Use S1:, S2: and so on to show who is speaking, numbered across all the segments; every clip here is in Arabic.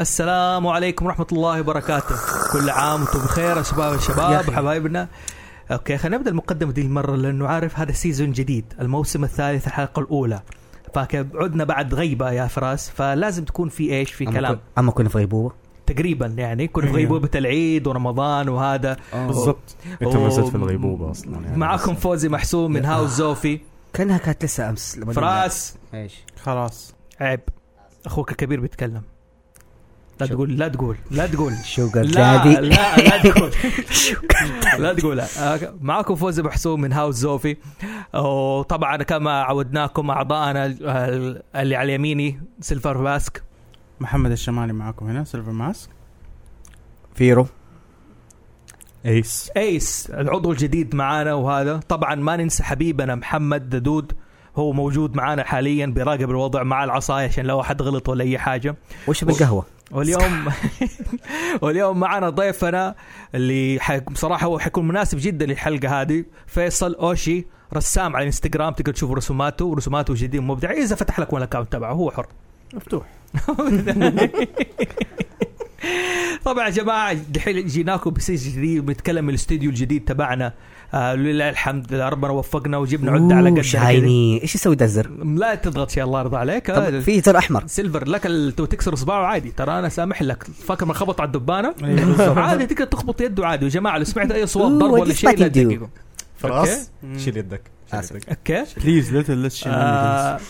S1: السلام عليكم ورحمة الله وبركاته كل عام وانتم بخير يا شباب الشباب وحبايبنا اوكي خلينا نبدا المقدمة دي المرة لانه عارف هذا سيزون جديد الموسم الثالث الحلقة الأولى فعدنا بعد غيبة يا فراس فلازم تكون في ايش في
S2: أما
S1: كلام
S2: كن- اما كنا في غيبوبه
S1: تقريبا يعني كنا في
S3: أيوه.
S1: غيبوبة العيد ورمضان وهذا
S3: بالضبط
S1: أوه.
S4: انت ما زلت في الغيبوبه اصلا يعني
S1: معاكم فوزي محسوم من هاوس زوفي
S2: كانها كانت لسه امس لما
S1: فراس
S2: جينا. ايش
S3: خلاص
S1: عيب اخوك الكبير بيتكلم لا
S2: شو-
S1: تقول لا تقول لا تقول
S2: شوغر
S1: لا
S2: دادي
S1: لا لا تقول لا تقول آه، معاكم فوزي محسوم من هاوس زوفي وطبعا كما عودناكم اعضائنا ال- ال- اللي على يميني سيلفر باسك
S3: محمد الشمالي معاكم هنا سيلفر ماسك
S2: فيرو
S4: ايس
S1: ايس العضو الجديد معانا وهذا طبعا ما ننسى حبيبنا محمد ددود هو موجود معانا حاليا بيراقب الوضع مع العصايه عشان لو احد غلط ولا اي حاجه
S2: وش بالقهوه
S1: واليوم واليوم معنا ضيفنا اللي حي- بصراحه هو حيكون مناسب جدا للحلقه هذه فيصل اوشي رسام على الانستغرام تقدر تشوف رسوماته ورسوماته جديد مبدع اذا فتح لك ولا الاكونت تبعه هو حر
S3: مفتوح
S1: طبعا يا جماعه دحين جيناكم بسيس جديد بنتكلم من الاستديو الجديد تبعنا آه لله الحمد لله ربنا وفقنا وجبنا عده على
S2: أوه،
S1: قدنا كده.
S2: شايني ايش يسوي ده الزر
S1: لا تضغط يا الله يرضى عليك آه،
S2: طب في زر احمر
S1: سيلفر لك ال- تو تكسر اصبعه عادي ترى انا سامح لك فاكر ما خبط على الدبانه
S3: أيوة بالضبط.
S1: عادي تقدر تخبط يده عادي يا جماعه لو سمعت اي صوت
S2: Ooh,
S1: ضرب
S2: what
S1: ولا
S2: is
S1: شيء لا
S2: Spatty do?
S1: تدققوا
S4: خلاص
S3: مم.
S4: شيل يدك شيل
S2: آسف.
S4: يدك.
S1: اوكي
S3: بليز ليتل ليتش
S1: آه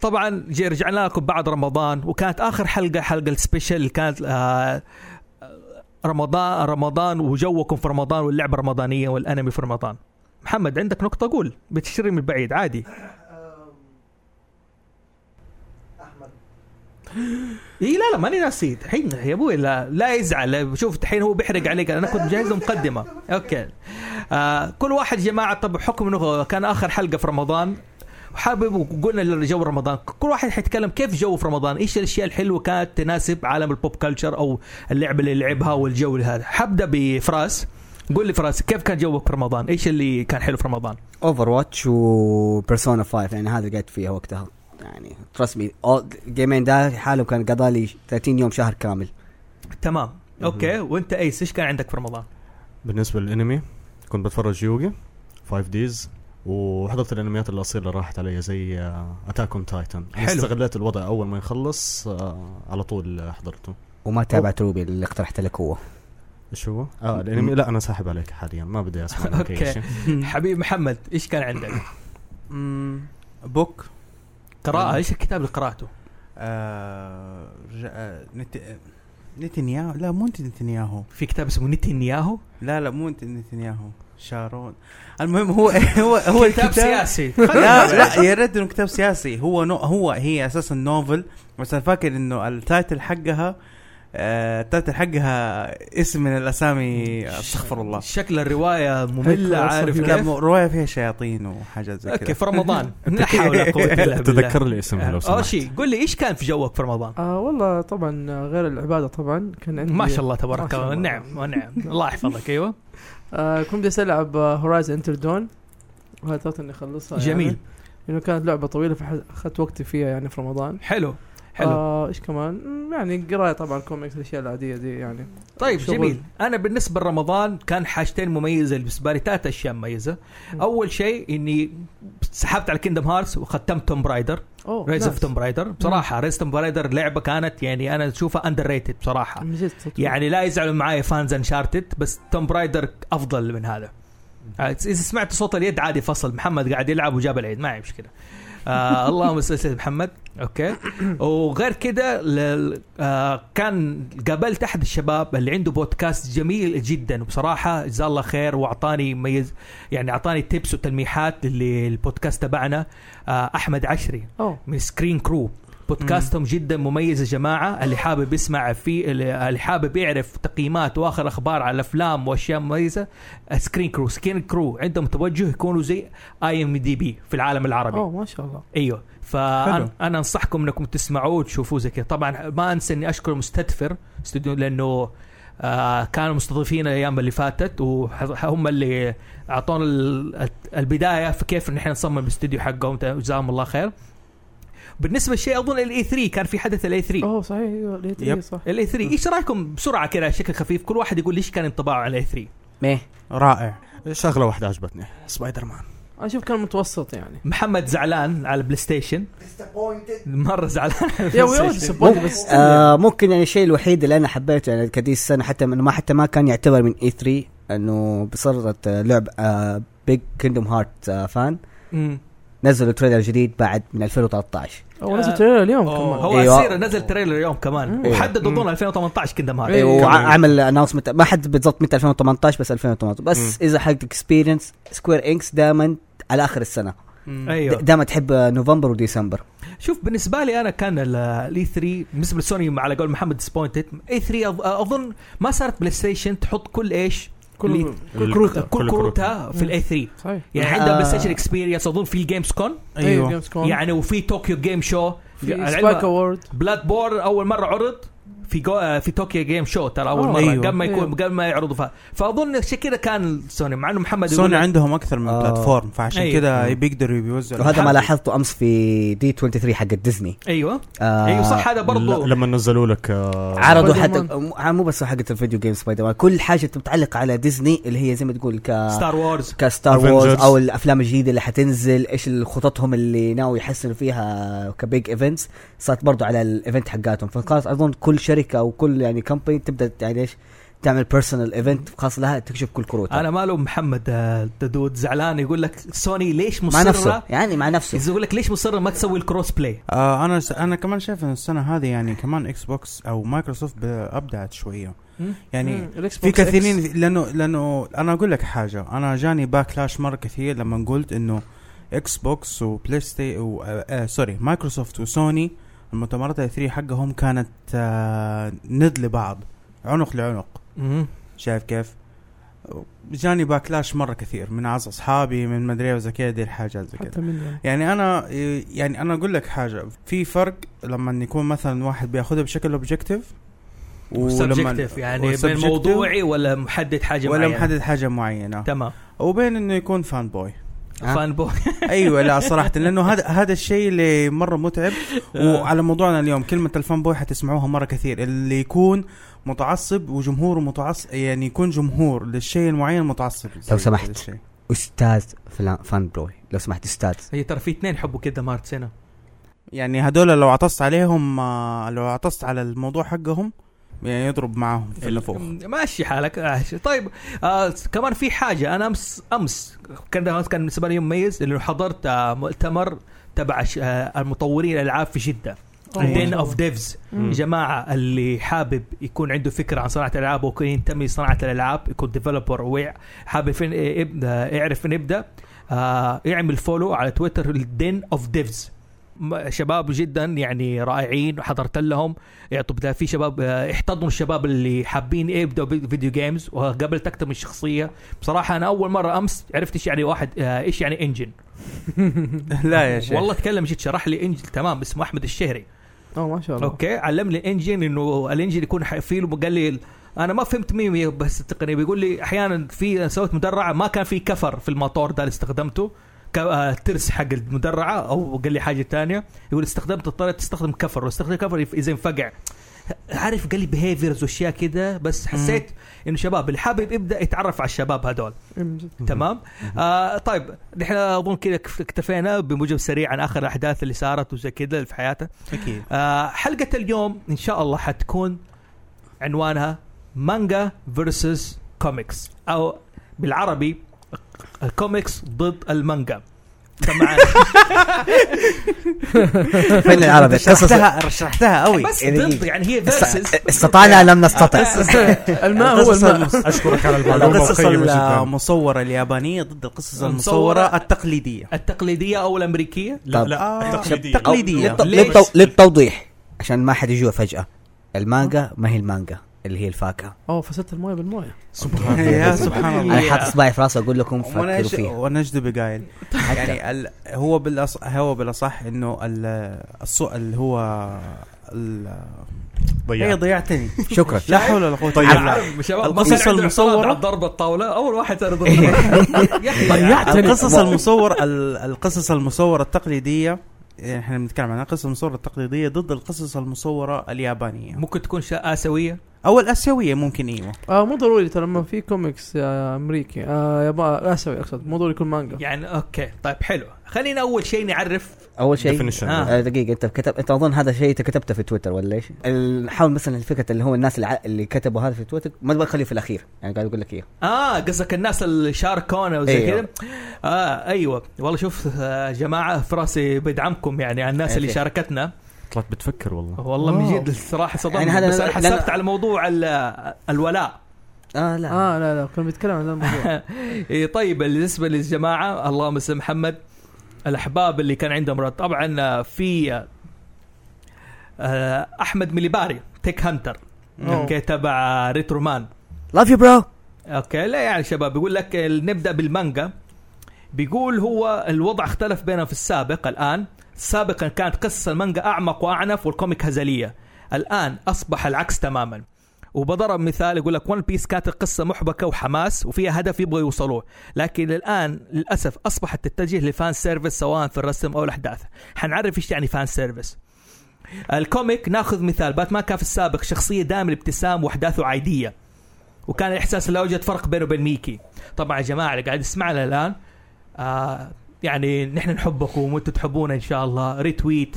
S1: طبعا جي رجعنا لكم بعد رمضان وكانت اخر حلقه حلقه السبيشل اللي كانت آه رمضان رمضان وجوكم في رمضان واللعبه الرمضانيه والانمي في رمضان محمد عندك نقطه قول بتشتري من بعيد عادي اي لا لا ماني ناسي الحين يا ابوي لا لا يزعل شوف الحين هو بيحرق عليك انا كنت مجهز له مقدمه اوكي آه كل واحد يا جماعه طب حكم انه كان اخر حلقه في رمضان وحابب وقلنا للجو رمضان كل واحد حيتكلم كيف جو في رمضان ايش الاشياء الحلوه كانت تناسب عالم البوب كلتشر او اللعبه اللي لعبها والجو اللي هذا حبدا بفراس قول لي فراس كيف كان جوك في رمضان ايش اللي كان حلو في رمضان
S2: اوفر واتش وبيرسونا 5 يعني هذا اللي قعدت فيها وقتها يعني ترست مي جيمين ده حالهم كان قضى لي 30 يوم شهر كامل
S1: تمام اوكي وانت ايس ايش كان عندك في رمضان
S4: بالنسبه للانمي كنت بتفرج يوغي 5 ديز وحضرت الانميات الاصيله اللي راحت علي زي آه، اتاك اون تايتن
S1: حلو.
S4: استغليت الوضع اول ما يخلص آه، على طول آه، حضرته
S2: وما تابعت روبي اللي اقترحت لك هو
S4: ايش هو؟ اه الانمي لا انا ساحب عليك حاليا ما بدي اسمع منك
S1: آه، أوكي.
S4: اي شيء
S1: حبيب محمد ايش كان عندك
S3: بوك
S1: قراءه ايش الكتاب اللي قراته
S3: آه، رج- آه، نت- آه، نتنياهو لا مو انت نتنياهو
S1: في كتاب اسمه نتنياهو
S3: لا لا مو انت نتنياهو شارون المهم هو هو هو
S1: كتاب
S3: الكتاب
S1: سياسي
S3: لا لا يا ريت انه كتاب سياسي هو نو هو هي اساسا نوفل بس انا فاكر انه التايتل حقها آه، التايتل حقها اسم من الاسامي استغفر الله
S1: شكل الروايه ممله عارف
S3: كان
S1: كيف
S3: روايه فيها شياطين وحاجات زي
S1: اوكي
S3: كذا
S1: في رمضان لا حول ولا قوه الا بالله آه،
S4: تذكر لي اسمها لو سمحت
S1: اوشي قول لي ايش كان في جوك في رمضان؟
S5: آه والله طبعا آه، غير العباده طبعا كان عندي
S1: ما شاء الله
S5: ما
S1: تبارك
S5: شاء
S1: الله
S5: الله.
S1: نعم ونعم الله يحفظك ايوه
S5: آه كنت بدي العب هورايزن انتر دون وهدفت اني
S2: طيب،
S5: اخلصها
S1: جميل
S5: يعني لانه كانت لعبه طويله فاخذت وقتي فيها يعني في رمضان
S1: حلو حلو
S5: آه، ايش كمان مم، يعني قرايه طبعا كوميكس الاشياء العاديه دي يعني
S1: طيب
S5: شغل.
S1: جميل انا بالنسبه لرمضان كان حاجتين مميزه بالنسبه لي ثلاث اشياء مميزه
S5: م.
S1: اول شيء اني سحبت على كيندم هارتس وختمت توم برايدر
S5: اوه
S1: ريز اوف
S5: نايس.
S1: توم برايدر بصراحه ريز توم برايدر لعبه كانت يعني انا اشوفها اندر ريتد بصراحه
S5: من جد صدق.
S1: يعني لا يزعلوا معايا فانز انشارتد بس توم برايدر افضل من هذا اذا سمعت صوت اليد عادي فصل محمد قاعد يلعب وجاب العيد ما هي مشكله آه اللهم صل على سيدنا محمد اوكي وغير كده لل- آه كان قابلت احد الشباب اللي عنده بودكاست جميل جدا وبصراحه جزاه الله خير واعطاني ميز يعني اعطاني تيبس وتلميحات للبودكاست تبعنا آه احمد عشري
S5: اوه
S1: من سكرين كرو بودكاستهم جدا مميز يا جماعه اللي حابب يسمع فيه اللي حابب يعرف تقييمات واخر اخبار على الافلام واشياء مميزه سكرين كرو سكرين كرو عندهم توجه يكونوا زي اي ام دي بي في العالم العربي
S5: اوه ما شاء الله
S1: ايوه
S3: حلو.
S1: فانا انا انصحكم انكم تسمعوه وتشوفوه زي كذا طبعا ما انسى اني اشكر مستدفر استوديو لانه آه كانوا مستضيفين الايام اللي فاتت وهم اللي اعطونا ال- البدايه في كيف ان احنا نصمم الاستوديو حقهم جزاهم الله خير بالنسبه لشيء اظن الاي 3 كان في حدث E الاي 3
S5: اوه صحيح ايوه ليت
S3: يب.
S5: إيه، صح
S1: الاي 3 ايش رايكم بسرعه كذا بشكل خفيف كل واحد يقول ايش كان انطباعه على E الاي 3
S2: ميه
S3: رائع
S4: شغله واحده عجبتني سبايدر مان
S5: انا اشوف كان متوسط يعني
S1: محمد زعلان على البلاي ستيشن مره زعلان على
S5: يا
S1: البلاي
S5: وي
S1: ستيشن.
S5: disappointed بس
S2: آه ممكن يعني الشيء الوحيد اللي انا حبيته يعني كدي السنه حتى من ما حتى ما كان يعتبر من اي 3 انه بصرت آه، لعب آه بيج كيندوم هارت آه فان
S1: مم.
S2: نزلوا تريلر جديد بعد من 2013
S5: هو نزل تريلر اليوم
S1: أوه،
S5: كمان
S1: هو
S2: أيوة.
S1: اصير نزل تريلر اليوم كمان
S2: أيوة.
S1: وحدد
S4: مم.
S1: اظن 2018 كذا مارك
S5: إيه،
S2: إيه،
S4: كمان.
S2: وعمل اناونسمنت ما حد بالضبط متى 2018 بس 2018 بس
S4: مم.
S2: اذا حق اكسبيرينس سكوير انكس دائما على اخر السنه
S5: أيوه.
S1: ايوه
S2: دائما تحب آه، نوفمبر وديسمبر
S1: شوف بالنسبه لي انا كان الاي 3 بالنسبه لسوني على قول محمد ديسبوينتد اي 3 أظ- اظن ما صارت بلاي ستيشن تحط كل ايش
S5: كله
S1: كروتها
S4: كل كروتها.
S1: كل
S4: كل
S1: كروتها في
S5: مم.
S1: الاي 3
S5: صحيح أيوة،
S1: يعني
S2: آه.
S1: عندها بلاي ستيشن اكسبيرينس اظن في الجيمز كون
S3: ايوه
S5: Gamescom.
S1: يعني وفي طوكيو جيم شو
S5: في
S1: يعني
S5: سبايك اوورد
S1: بلاد بور اول مره عرض في جو آه، في طوكيو جيم شو ترى اول
S5: آه،
S1: مره
S3: أيوة.
S1: قبل ما يكون
S5: أيوة.
S1: قبل ما يعرضوا فيها فاظن عشان كذا كان سوني مع انه محمد يقول
S3: سوني عندهم اكثر من
S2: آه.
S3: بلاتفورم فعشان
S1: أيوة.
S3: كده بيقدروا بيوزعوا
S2: وهذا ما
S1: الحمد.
S2: لاحظته امس في دي 23 حق ديزني
S1: ايوه
S2: آه
S1: ايوه صح هذا برضه
S4: ل- لما نزلوا لك آه،
S2: عرضوا
S5: سبايدر
S2: حتى م- مو بس حقت الفيديو جيم سبايدر مان كل حاجه متعلقه على ديزني اللي هي زي ما تقول ك
S1: ستار وورز
S2: كستار
S4: Avengers.
S2: وورز او الافلام الجديده اللي حتنزل ايش خططهم اللي ناوي يحسنوا فيها كبيج ايفنتس صارت برضو على الايفنت حقاتهم فكانت اظن كل شركه او كل يعني كمباني تبدا يعني ايش تعمل بيرسونال ايفنت خاص لها تكشف كل كروتها
S1: انا ماله محمد آه، ددود زعلان يقول لك سوني ليش
S2: مع نفسه
S1: مصره
S2: يعني مع نفسه
S1: يقول لك ليش مصره ما تسوي الكروس بلاي
S3: آه انا س... انا كمان شايف ان السنه هذه يعني كمان اكس بوكس او مايكروسوفت ب- ابدعت شويه يعني في كثيرين لانه لانه انا اقول لك حاجه انا جاني باكلاش مره كثير لما قلت انه اكس بوكس وبلاي ستي و... آه آه سوري مايكروسوفت وسوني المؤتمرات الاي 3 حقهم كانت آه ند لبعض عنق لعنق شايف كيف؟ جاني باكلاش مره كثير من اعز اصحابي من مدري وزي كذا دي الحاجات زي كذا
S5: حتى من
S3: يعني انا يعني انا اقول لك حاجه في فرق لما يكون مثلا واحد بياخذها بشكل اوبجكتيف
S1: سبجكتيف يعني بين موضوعي ولا محدد حاجه
S3: ولا
S1: معينة.
S3: محدد حاجه معينه
S1: تمام
S3: وبين انه يكون فان بوي
S2: ها؟
S1: فان بوي
S3: ايوه لا صراحه لانه هذا هذا الشيء اللي مره متعب
S1: آه.
S3: وعلى موضوعنا اليوم كلمه الفان بوي حتسمعوها مره كثير اللي يكون متعصب وجمهوره متعصب يعني يكون جمهور للشيء المعين متعصب
S2: لو سمحت.
S3: للشيء.
S2: استاذ فلان فان بروي لو سمحت استاذ
S1: هي ترى في اثنين حبوا كذا مارت سنه
S3: يعني هذول لو عطست عليهم آه، لو عطست على الموضوع حقهم يعني يضرب معاهم في النفوخ
S1: ماشي حالك ماشي. طيب آه كمان في حاجه انا امس امس كان كان بالنسبه لي يوم مميز انه حضرت آه مؤتمر تبع ش- آه المطورين الالعاب في جده دين اوف ديفز يا جماعه اللي حابب يكون عنده فكره عن صناعه الالعاب ويكون ينتمي لصناعه الالعاب يكون ديفلوبر وحابب فين يبدا يعرف فين يبدا آه يعمل فولو على تويتر الدين اوف ديفز شباب جدا يعني رائعين حضرت لهم يعطوا بدا- في شباب آه، احتضنوا الشباب اللي حابين يبداوا بي- فيديو جيمز وقابلت اكثر من شخصيه بصراحه انا اول مره امس عرفت ايش يعني واحد آه، ايش يعني انجن
S3: لا يا شيخ
S1: والله تكلم جد شرح لي انجن تمام اسمه احمد الشهري
S5: اوه ما شاء الله
S1: اوكي علمني الانجن انه الانجن يكون حفيل وقال لي انا ما فهمت ميم هي بس التقنيه بيقول لي احيانا في سويت مدرعه ما كان في كفر في الموتور ده اللي استخدمته ك- آه، ترس حق المدرعه او قال لي حاجه تانية يقول استخدمت الطريقه تستخدم كفر واستخدم كفر يف- اذا انفقع عارف قال لي بيهيفيرز واشياء كده بس حسيت انه شباب اللي حابب يبدا يتعرف على الشباب هذول
S5: إيه،
S1: تمام آه طيب نحن اظن كذا اكت- اكتفينا بموجب سريع عن اخر الاحداث اللي صارت وزي كذا في حياتنا
S3: اكيد
S1: آه، حلقة اليوم إن شاء الله حتكون عنوانها مانجا فيرسس كوميكس أو بالعربي الكوميكس ضد المانجا طبعاً.
S2: فين العربي قصص
S3: شرحتها رشحتها قوي
S1: بس ضد يعني هي فيرسس
S2: استطعنا لم نستطع
S5: الماء هو الماء
S4: اشكرك على المعلومه
S3: القصص
S4: القيمه جدا
S3: المصورة اليابانية ضد القصص المصورة التقليدية
S1: التقليدية أو الأمريكية
S4: لا
S2: طب.
S4: لا التقليدية.
S2: أو-
S3: تقليدية.
S2: للط-
S1: ليش؟
S2: للط- للتوضيح عشان ما حد يجوع فجأة المانجا ما هي المانجا اللي هي الفاكهة
S5: اوه فسدت المويه بالمويه
S4: سبحان
S3: يا
S4: الله
S3: سبحان
S2: انا
S3: الله
S1: Yeah.
S2: حاط اصبعي في راسي اقول لكم
S3: وانا
S2: فكروا
S3: إيش-
S2: فيها
S3: وانا اجدب قايل
S2: حتى
S3: يعني ال... هو بالأص... هو بالاصح انه ال... السوء اللي هو ال... هي
S4: ضيعت.
S3: إيه، ضيعتني
S2: شكرا
S3: لا حول ولا قوه
S4: طيب.
S3: الا بالله
S1: شباب ما
S3: القصص
S1: كان عندنا
S3: المصورة.
S1: اعتراض على ضرب الطاولة أول واحد صار يضرب الطاولة. يا أخي، يعني
S3: القصص المصور ال- القصص المصورة التقليدية يعني احنا بنتكلم عن القصص المصوره التقليديه ضد القصص المصوره اليابانيه
S1: ممكن تكون شا- اسيويه
S3: او الاسيويه ممكن ايوه
S5: آه مو ضروري ترى لما في كوميكس آه امريكي آه يابا اسوي اقصد مو ضروري يكون مانجا
S1: يعني اوكي طيب حلو خلينا اول شيء نعرف
S2: اول شيء
S4: Definition.
S1: آه.
S2: آه دقيقه انت كتب انت اظن هذا الشيء انت كتبته في تويتر ولا ايش؟ ال- حاول مثلا الفكره اللي هو الناس اللي, ع- اللي كتبوا هذا في تويتر ما تبغى تخليه في الاخير يعني قاعد اقول لك اياه
S1: اه قصدك الناس اللي شاركونا وزي
S2: أيوة.
S1: كذا اه ايوه والله شوف آه جماعه في راسي بدعمكم يعني على الناس اللي
S2: أوكي.
S1: شاركتنا
S4: طلعت بتفكر والله
S1: والله من
S5: واو.
S1: جد الصراحه صدمت
S2: يعني
S1: يعني
S2: هذا
S1: بس
S2: لأن-
S1: انا حسبت
S2: لأن-
S1: على موضوع ال- الولاء
S2: اه لا
S3: آه.
S5: اه لا لا كنا بنتكلم عن هذا الموضوع
S1: إيه، طيب بالنسبه للجماعه اللهم اسم محمد الاحباب اللي كان عندهم رد طبعا آه، في آه، آه، احمد مليباري تيك هانتر
S5: أوه.
S1: اوكي تبع ريترو مان
S2: لاف يو برو
S1: اوكي لا يعني شباب بيقول لك ال- نبدا بالمانجا بيقول هو الوضع اختلف بينهم في السابق الان سابقا كانت قصه المانجا اعمق واعنف والكوميك هزليه الان اصبح العكس تماما وبضرب مثال يقول لك ون بيس كانت القصه محبكه وحماس وفيها هدف يبغوا يوصلوه لكن الان للاسف اصبحت تتجه لفان سيرفيس سواء في الرسم او الاحداث حنعرف ايش يعني فان سيرفيس الكوميك ناخذ مثال باتمان كان في السابق شخصيه دائم الابتسام واحداثه عاديه وكان الاحساس لا يوجد فرق بينه وبين ميكي طبعا يا جماعه اللي قاعد يسمعنا الان آه يعني نحن نحبكم وانتم تحبونا ان شاء الله ريتويت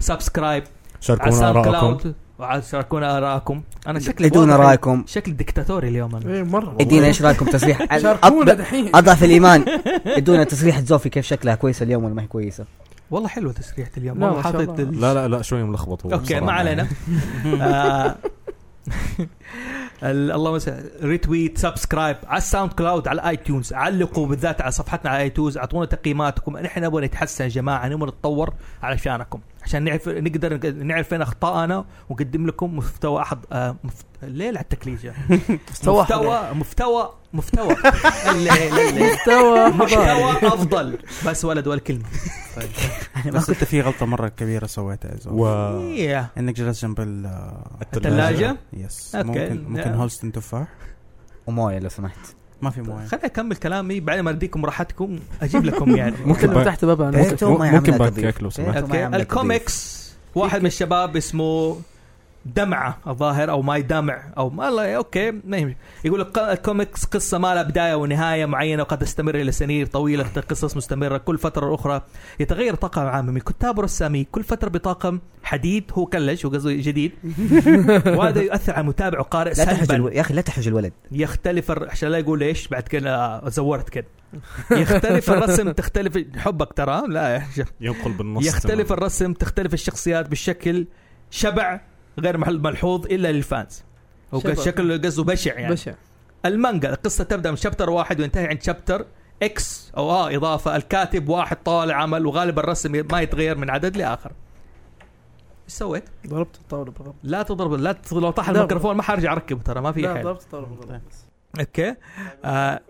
S1: سبسكرايب على
S4: شاركونا
S1: ساوند
S4: ارائكم
S1: كلاود وعلى شاركونا ارائكم انا شكلي
S2: ادونا
S1: واضح-
S2: رايكم
S1: شكلي دكتاتوري اليوم انا
S5: ايه مره
S2: ادينا ايش رايكم تصريح
S5: شاركونا
S2: أض-
S5: دحين
S2: اضعف الايمان ادونا تصريح زوفي كيف شكلها كويسه اليوم ولا ما هي كويسه
S1: والله حلوه تسريحه اليوم
S5: لا،
S1: والله
S5: ما شاء
S1: حاطط
S5: الله.
S1: ال-
S4: لا لا لا شوي ملخبط هو
S1: اوكي ما
S4: بصراحة.
S1: علينا آه، ال- اللهم صل- ريتويت سبسكرايب على الساوند كلاود على الاي تيونز علقوا بالذات على صفحتنا على اي تيونز اعطونا تقييماتكم نحن نبغى نتحسن يا جماعه نبغى نتطور علشانكم عشان نعرف نقدر نعرف فين اخطائنا ونقدم لكم مستوى احد آه، مفت... ليه على التكليجه
S5: مستوى
S1: مستوى مستوى مستوى ليه- ليه- ليه.
S5: مستوى
S1: مستوى افضل بس ولد ولا كلمه
S3: بس انت في غلطه مره كبيره سويتها يا زول.
S4: و
S1: إيه.
S3: انك جلست جنب ال-
S1: الثلاجة؟
S3: يس
S1: أوكي.
S3: ممكن ممكن
S1: نعم.
S3: هولستن تفاح
S2: ومويه لو سمحت
S3: ما في مويه
S1: خليني اكمل كلامي بعدين ما اديكم راحتكم اجيب لكم يعني
S4: ممكن
S5: ممكن
S4: بقى-
S5: تحت بابها أنا.
S2: بيته ما
S4: ممكن
S2: يعملها
S4: بعد
S2: تضيف.
S4: كيك لو سمحت.
S2: بيته ما
S1: اوكي
S2: يعملها
S1: الكوميكس واحد من الشباب اسمه دمعة الظاهر او ماي دمع او ما الله اوكي ما يهمش يقول الق- الكوميكس قصة ما لها بداية ونهاية معينة وقد تستمر الى سنين طويلة قصص مستمرة كل فترة اخرى يتغير طاقم عامه من كتاب ورسامين كل فترة بطاقم حديد هو كلش وقصده جديد وهذا يؤثر على المتابع وقارئ
S2: لا تحج
S1: سلبا
S2: الو- يا اخي لا تحج الولد
S1: يختلف الر- عشان لا يقول ليش بعد كذا زورت كده يختلف الرسم تختلف حبك ترى لا يا شيخ.
S4: ينقل بالنص
S1: يختلف الرسم تختلف الشخصيات بالشكل شبع غير محل- ملحوظ الا للفانز هو
S5: شبع.
S1: كان شكله قصده بشع يعني بش.
S5: بشع
S1: المانجا القصه تبدا من شابتر واحد وينتهي عند شابتر اكس او اه اضافه الكاتب واحد طالع عمل وغالبا الرسم ما يتغير من عدد لاخر ايش سويت؟
S5: ضربت الطاوله بالغلط
S1: لا تضرب لا تضرب- لو طاح
S5: لا.
S1: الميكروفون ما حرجع اركبه ترى ما في طيب.
S5: لا
S1: حل
S5: ضربت الطاوله بالغلط بس.
S1: اوكي آه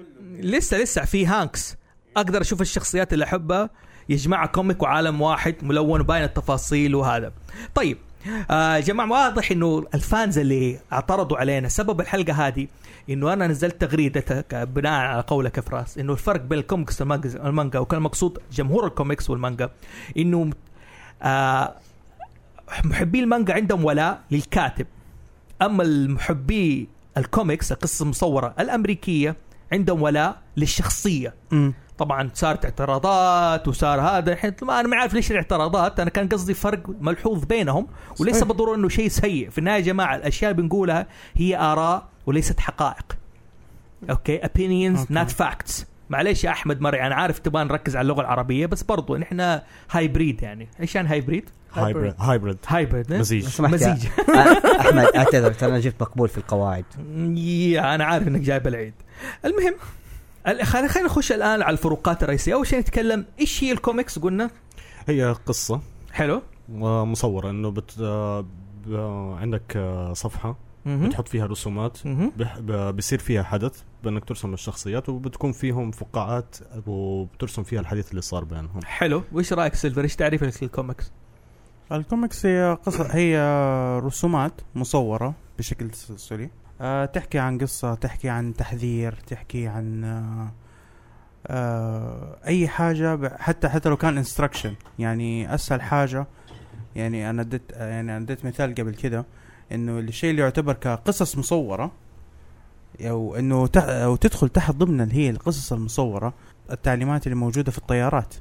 S1: لسه لسه في هانكس اقدر اشوف الشخصيات اللي احبها يجمع كوميك وعالم واحد ملون وباين التفاصيل وهذا طيب آه يا جماعه واضح انه الفانز اللي اعترضوا علينا سبب الحلقه هذه انه انا نزلت تغريدتك بناء على قولك يا فراس انه الفرق بين الكوميكس والمانجا- والمانجا وكان مقصود جمهور الكوميكس والمانجا انه آه محبي المانجا عندهم ولاء للكاتب اما المحبي الكوميكس القصص المصوره الامريكيه عندهم ولاء للشخصيه
S3: مم.
S1: طبعا صارت اعتراضات وصار هذا الحين ما انا ما عارف ليش الاعتراضات انا كان قصدي فرق ملحوظ بينهم وليس
S3: صحيح.
S1: بالضروره انه شيء سيء في النهايه يا جماعه الاشياء اللي بنقولها هي اراء وليست حقائق اوكي opinions
S3: أوكي.
S1: not facts معليش يا احمد مرعي انا عارف تبغى نركز على اللغه العربيه بس برضو نحن هايبريد يعني ايش يعني هايبريد
S4: هايبرد هايبرد
S1: هايبريد
S2: لو
S4: مزيج
S2: سمحت يا-
S1: مزيج
S2: آه، احمد اعتذر ترى انا جبت مقبول في القواعد
S1: يا انا عارف انك جايب العيد المهم ال- خل- خلينا نخش الان على الفروقات الرئيسيه اول شيء نتكلم ايش هي الكوميكس قلنا
S4: هي قصه
S1: حلو
S4: آه، مصوره انه بت آه، ب- آه، عندك آه، صفحه
S1: مهم.
S4: بتحط فيها رسومات
S1: مهم.
S4: بح- ب- بيصير فيها حدث بانك ترسم الشخصيات وبتكون فيهم فقاعات وبترسم فيها الحديث اللي صار بينهم
S1: حلو وايش رايك سيلفر ايش تعريفك للكوميكس
S3: الكوميكس هي قصة هي رسومات مصورة بشكل آه، تسلسلي أه تحكي عن قصة تحكي عن تحذير تحكي عن أه آه اي حاجه ب- حتى حتى لو كان انستركشن يعني اسهل حاجه يعني انا اديت يعني انا اديت مثال قبل كده انه الشيء اللي يعتبر كقصص مصوره او انه تح او تدخل تحت ضمن اللي هي القصص المصوره التعليمات اللي موجوده في الطيارات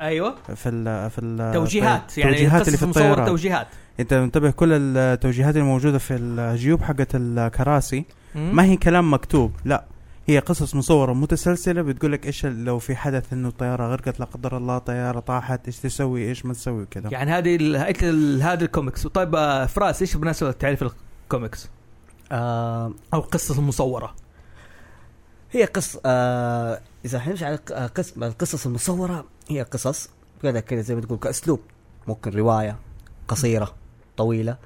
S1: ايوه
S3: في ال في ال
S1: توجيهات يعني
S3: التوجيهات اللي في
S1: قصص مصورة
S3: الطيارات
S1: توجيهات
S3: انت منتبه كل التوجيهات الموجوده في الجيوب حقت الكراسي
S1: مم.
S3: ما هي كلام مكتوب لا هي قصص مصوره متسلسله بتقول لك ايش ال- لو في حدث انه الطياره غرقت لا قدر الله طياره طاحت ايش تسوي ايش ما تسوي كذا
S1: يعني هذه ال- ال- هذا الكوميكس طيب آه، فراس ايش بالنسبه تعرف الكوميكس
S2: آه
S1: او القصص المصوره
S2: هي قص آه اذا حنمشي على ق- آه، قسم القصص المصوره هي قصص كذا كذا زي ما تقول كاسلوب ممكن روايه قصيره طويله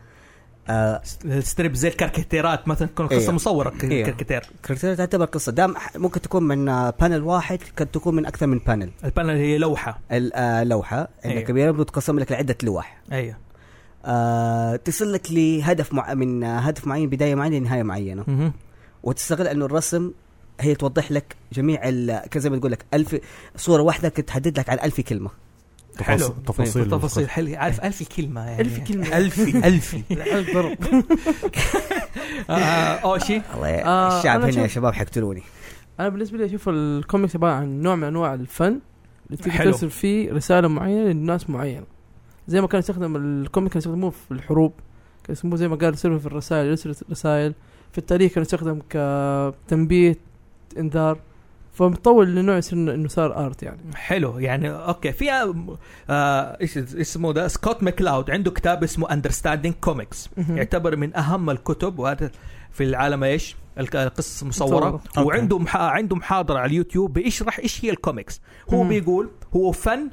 S2: آه
S1: س- الستريب زي الكاركتيرات مثلا تكون قصه
S2: إيه.
S1: مصوره ك-
S2: إيه.
S1: كاركتير
S2: كرتون تعتبر قصه دام ح- ممكن تكون من آه، بانل واحد قد تكون من اكثر من بانل
S1: البانل هي لوحه
S2: اللوحه
S1: أيوه.
S2: آه، عندك كبيره بتتقسم لك لعده لوح
S1: ايوه
S2: آه تصل لك لهدف مع من آه، هدف معين بدايه معينه لنهايه معينه
S1: مهم.
S2: وتستغل انه الرسم هي توضح لك جميع ال- كان زي ما تقول لك ألف صوره واحده كت- تحدد لك عن ألف كلمه
S1: حلو. طيب،
S4: تفاصيل تفاصيل
S1: تفاصيل حلو عارف ألف كلمه يعني
S5: ألف كلمة.
S1: ألفي ألفي
S5: ضرب
S1: آه، آه، اوشي
S2: الله
S5: آه،
S2: الشعب
S5: أنا
S2: هنا يا
S5: أشوف-
S2: شباب حيقتلوني
S5: انا بالنسبه لي اشوف الكوميكس عباره عن نوع من انواع الفن اللي تقدر
S1: حلو.
S5: توصل فيه رساله معينه للناس معينه زي ما كان يستخدم الكوميك كانوا يستخدموه في الحروب كانوا يسموه زي ما قال يستخدم في الرسائل يرسل رسائل في التاريخ كان يستخدم كتنبيه انذار فمطول لنوع يصير إنه- انه صار ارت يعني
S1: حلو يعني اوكي في آه، آه، ايش اسمه ده سكوت ماكلاود عنده كتاب اسمه اندرستاندينج كوميكس يعتبر من اهم الكتب وهذا في العالم ايش؟ الك- القصص المصوره
S5: مصورة.
S3: أوكي.
S1: وعنده مح... عنده محاضره على اليوتيوب بيشرح ايش هي الكوميكس هو
S5: مم.
S1: بيقول هو فن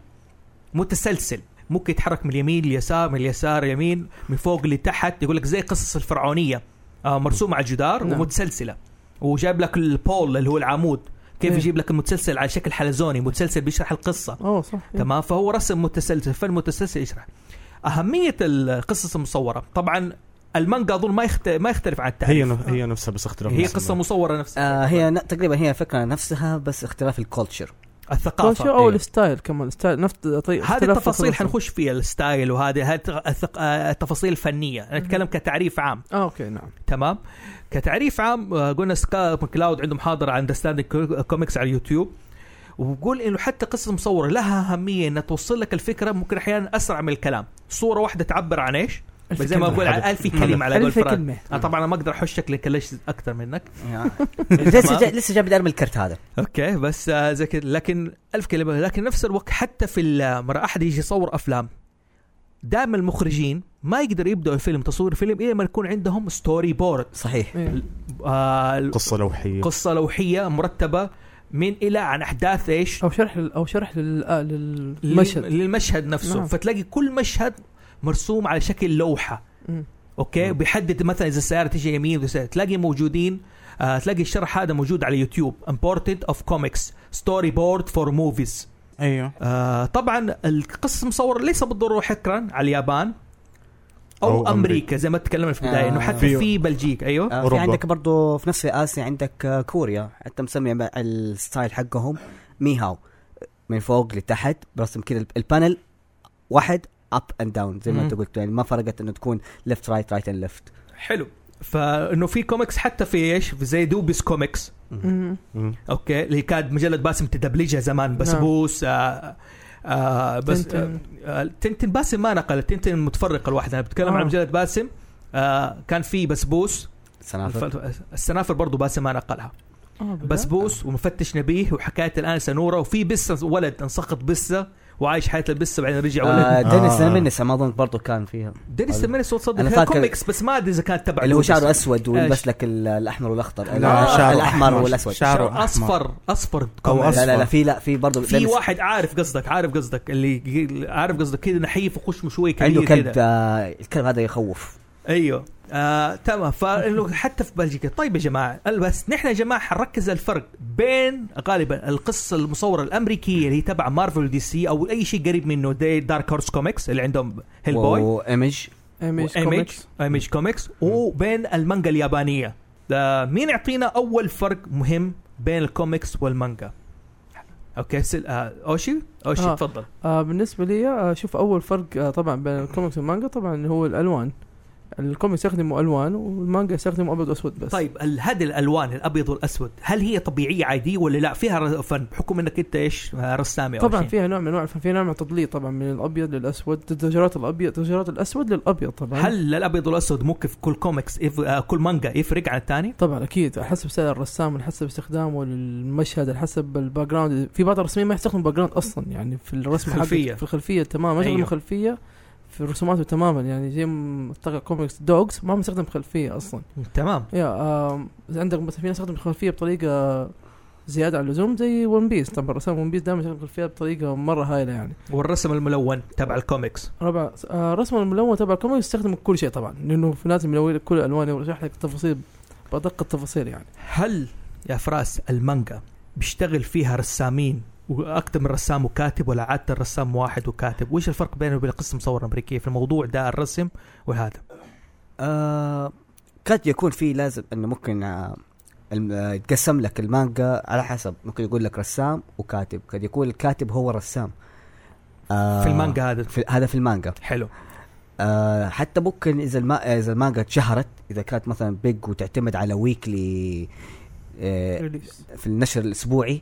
S1: متسلسل ممكن يتحرك من اليمين لليسار من اليسار يمين من فوق لتحت يقول لك زي القصص الفرعونيه آه مرسومه على الجدار
S5: نعم.
S1: ومتسلسله وجايب لك البول اللي هو العمود كيف
S5: إيه.
S1: يجيب لك المتسلسل على شكل حلزوني متسلسل بيشرح القصه
S5: اوه آه، صح
S1: تمام فهو رسم متسلسل فن متسلسل يشرح اهميه القصص المصوره طبعا المانجا اظن ما يخت... ما يختلف عن
S4: هي
S1: التعريف
S4: نف- هي نفسها بس اختلاف
S1: هي
S4: الاسم.
S1: قصه مصوره نفسها
S2: آه هي ن- تقريبا هي فكره نفسها بس اختلاف الكولتشر
S5: كل شيء
S1: الثقافه
S5: او
S2: إيه.
S5: الستايل كمان الستايل نفس طريقة
S1: أيوه. هذه
S5: اختلاف
S1: التفاصيل
S5: الرسم.
S1: حنخش فيها الستايل وهذه هذه الثق- آه، التفاصيل الفنيه انا اتكلم كتعريف عام
S5: اه اوكي نعم
S1: تمام كتعريف عام آه، قلنا سكا كلاود عنده محاضره عن اندرستاندينج كوميكس على اليوتيوب وبقول انه حتى قصه مصوره لها اهميه انها توصل لك الفكره ممكن احيانا اسرع من الكلام صوره واحده تعبر عن ايش
S5: ألف
S1: زي ما
S5: كلمة.
S1: اقول على ألف كلمه على قول
S5: ألف
S1: فراد
S5: كلمة
S1: أنا طبعا أنا ما اقدر احشك لك ليش اكثر منك
S2: لسه جا لسه جاب من الكرت هذا
S1: اوكي بس آه، زي كده لكن ألف كلمه لكن نفس الوقت حتى في ال- آه، مرة احد يجي يصور افلام دائما المخرجين ما يقدروا يبداوا الفيلم تصوير فيلم الا ما يكون عندهم ستوري بورد
S2: صحيح
S5: إيه.
S1: آه
S4: قصه لوحيه
S1: قصه لوحيه مرتبه من الى عن احداث ايش
S5: او شرح لل- او شرح لل- آه،
S1: لل-
S5: للمشهد
S1: للمشهد نفسه
S5: نعم.
S1: فتلاقي كل مشهد مرسوم على شكل لوحه
S5: مم.
S1: اوكي
S4: نعم.
S1: بيحدد مثلا اذا السياره تجي يمين ولا سيارة- تلاقي موجودين آه تلاقي الشرح هذا موجود على يوتيوب امبورتنت اوف كوميكس ستوري بورد فور موفيز
S3: ايوه
S1: آه، طبعا القصه مصور ليس بالضروره حكرا على اليابان او,
S4: أو
S1: أمريكا.
S4: أمريكا.
S1: زي ما تكلمنا في البدايه انه
S2: آه.
S1: حتى
S4: في-
S1: في بلجيكا ايوه
S2: آه في
S4: أوروبا.
S2: عندك برضو في نفس اسيا عندك آه، كوريا حتى مسمي ب- الستايل حقهم ميهاو من فوق لتحت برسم كذا الب- البانل واحد اب اند داون زي ما
S1: مم.
S2: انت قلت يعني ما فرقت انه تكون ليفت رايت رايت اند ليفت
S1: حلو فانه في كوميكس حتى في ايش في زي دوبيس كوميكس
S5: مم.
S4: مم.
S1: اوكي اللي كانت مجله باسم تدبلجها زمان بسبوس آه آه بس
S5: تنتن.
S1: تنتن. آه تنتن باسم ما نقل تنتن متفرقه لوحدها انا بتكلم
S5: آه.
S1: عن مجله باسم آه كان في بسبوس
S2: سنافر
S1: الف- السنافر برضو باسم ما نقلها
S5: آه، بالله.
S1: بسبوس ومفتش نبيه وحكايه الان سنوره وفي بسه ولد انسقط بسه وعايش حياه البسه بعدين رجع
S2: آه
S1: ولد
S2: دينيس
S4: آه.
S2: منس ما اظن برضو كان فيها
S1: دينيس
S2: حلو.
S1: المني صوت
S2: أنا
S1: صدق
S2: فاكر-
S1: كوميكس بس ما ادري اذا كان تبع
S2: اللي هو
S1: دوبس.
S2: شعره اسود
S1: إيش؟
S2: ويلبس لك ال- الاحمر والاخضر
S1: لا، شعره
S2: الاحمر والاسود
S3: شعره أحمر.
S1: اصفر اصفر
S3: أو
S1: كوميكس.
S2: لا لا لا
S3: أصفر.
S2: في لا في برضه
S1: في واحد عارف قصدك عارف قصدك اللي عارف قصدك كذا نحيف وخشمه شوي كبير
S2: عنده كلب
S1: كده.
S2: آه الكلب هذا يخوف
S1: ايوه آه تمام فانه حتى في بلجيكا طيب يا جماعه بس نحن يا جماعه حنركز على الفرق بين غالبا القصه المصوره الامريكيه اللي هي تبع مارفل دي سي او اي شيء قريب منه دي دارك هورس كوميكس اللي عندهم هيل بوي
S2: وايمج
S5: ايميج
S1: ايمج
S5: كوميكس
S1: ايمج كوميكس وبين المانجا اليابانيه آه مين يعطينا اول فرق مهم بين الكوميكس والمانجا اوكي سل... آه اوشي اوشي
S5: آه.
S1: تفضل
S5: آه بالنسبه لي آه شوف اول فرق آه طبعا بين الكوميكس والمانجا طبعا هو الالوان الكوميكس يستخدموا الوان والمانجا يستخدموا ابيض واسود بس
S1: طيب ال- هذه الالوان الابيض والاسود هل هي طبيعيه عاديه ولا لا فيها ر- فن بحكم انك انت ايش آه، رسامي أو
S5: طبعا
S1: شيء.
S5: فيها نوع من انواع في نوع من التضليل طبعا من الابيض للاسود تجارات الابيض تجارات الاسود للابيض طبعا
S1: هل الابيض والاسود ممكن في كل كوميكس يف... آه كل مانجا يفرق عن الثاني؟
S5: طبعا اكيد على حسب سعر الرسام على حسب استخدامه للمشهد على حسب الباك جراوند في بعض الرسمين ما يستخدم باك جراوند اصلا يعني في الرسم حقه،
S1: خلفية.
S5: في الخلفيه تماما يستخدم
S1: أيوه. خلفيه
S5: خلفيه في رسوماته تماما يعني زي م- طاقة كوميكس دوجز ما مستخدم خلفيه اصلا
S1: تمام
S5: يا آم، عندك مثلا في ناس تستخدم خلفيه بطريقه زياده عن اللزوم زي ون بيس طبعا رسام ون بيس دائما يستخدم خلفيه بطريقه مره هايله يعني
S1: والرسم الملون تبع الكوميكس
S5: ربع آه رسم الملون تبع كوميكس يستخدم كل شيء طبعا لانه في لازم يلون لك كل الالوان ويشرح لك التفاصيل بادق التفاصيل يعني
S1: هل يا فراس المانجا بيشتغل فيها رسامين واكثر من رسام وكاتب ولا عاده الرسام واحد وكاتب وايش الفرق بينه وبين القصه المصوره الامريكيه في الموضوع ده الرسم وهذا
S2: آه قد يكون في لازم انه ممكن آه الم- آه، يتقسم لك المانجا على حسب ممكن يقول لك رسام وكاتب قد يكون الكاتب هو رسام آه
S1: في المانجا هذا
S2: في هذا في المانجا
S1: حلو
S2: آه حتى ممكن اذا الما اذا المانجا اتشهرت اذا كانت مثلا بيج وتعتمد على ويكلي
S1: إيه.
S2: آه
S5: ريليس
S2: في النشر الاسبوعي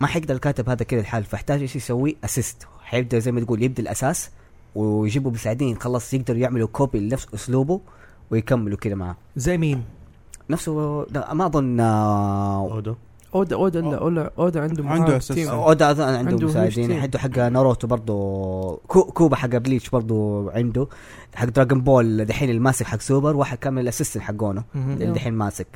S2: ما حيقدر الكاتب هذا كذا الحال فاحتاج ايش يسوي اسيست حيبدا زي ما تقول يبدا الاساس ويجيبوا مساعدين خلاص يقدروا يعملوا كوبي لنفس اسلوبه ويكملوا كذا معاه
S1: زي مين؟
S2: نفسه لا، ما اظن آه،
S4: اودو
S5: اودا اودا لا اودا اودا عنده
S3: عنده
S5: معاه
S3: أساس.
S5: تيم.
S2: اودا اظن عنده,
S5: عنده
S2: مساعدين
S5: هيوج
S2: حتى حق ناروتو برضه كو كوبا حق بليتش برضه عنده حق دراجون بول دحين الماسك حق سوبر واحد كان من الاسيستنت حقونه اللي دحين ماسك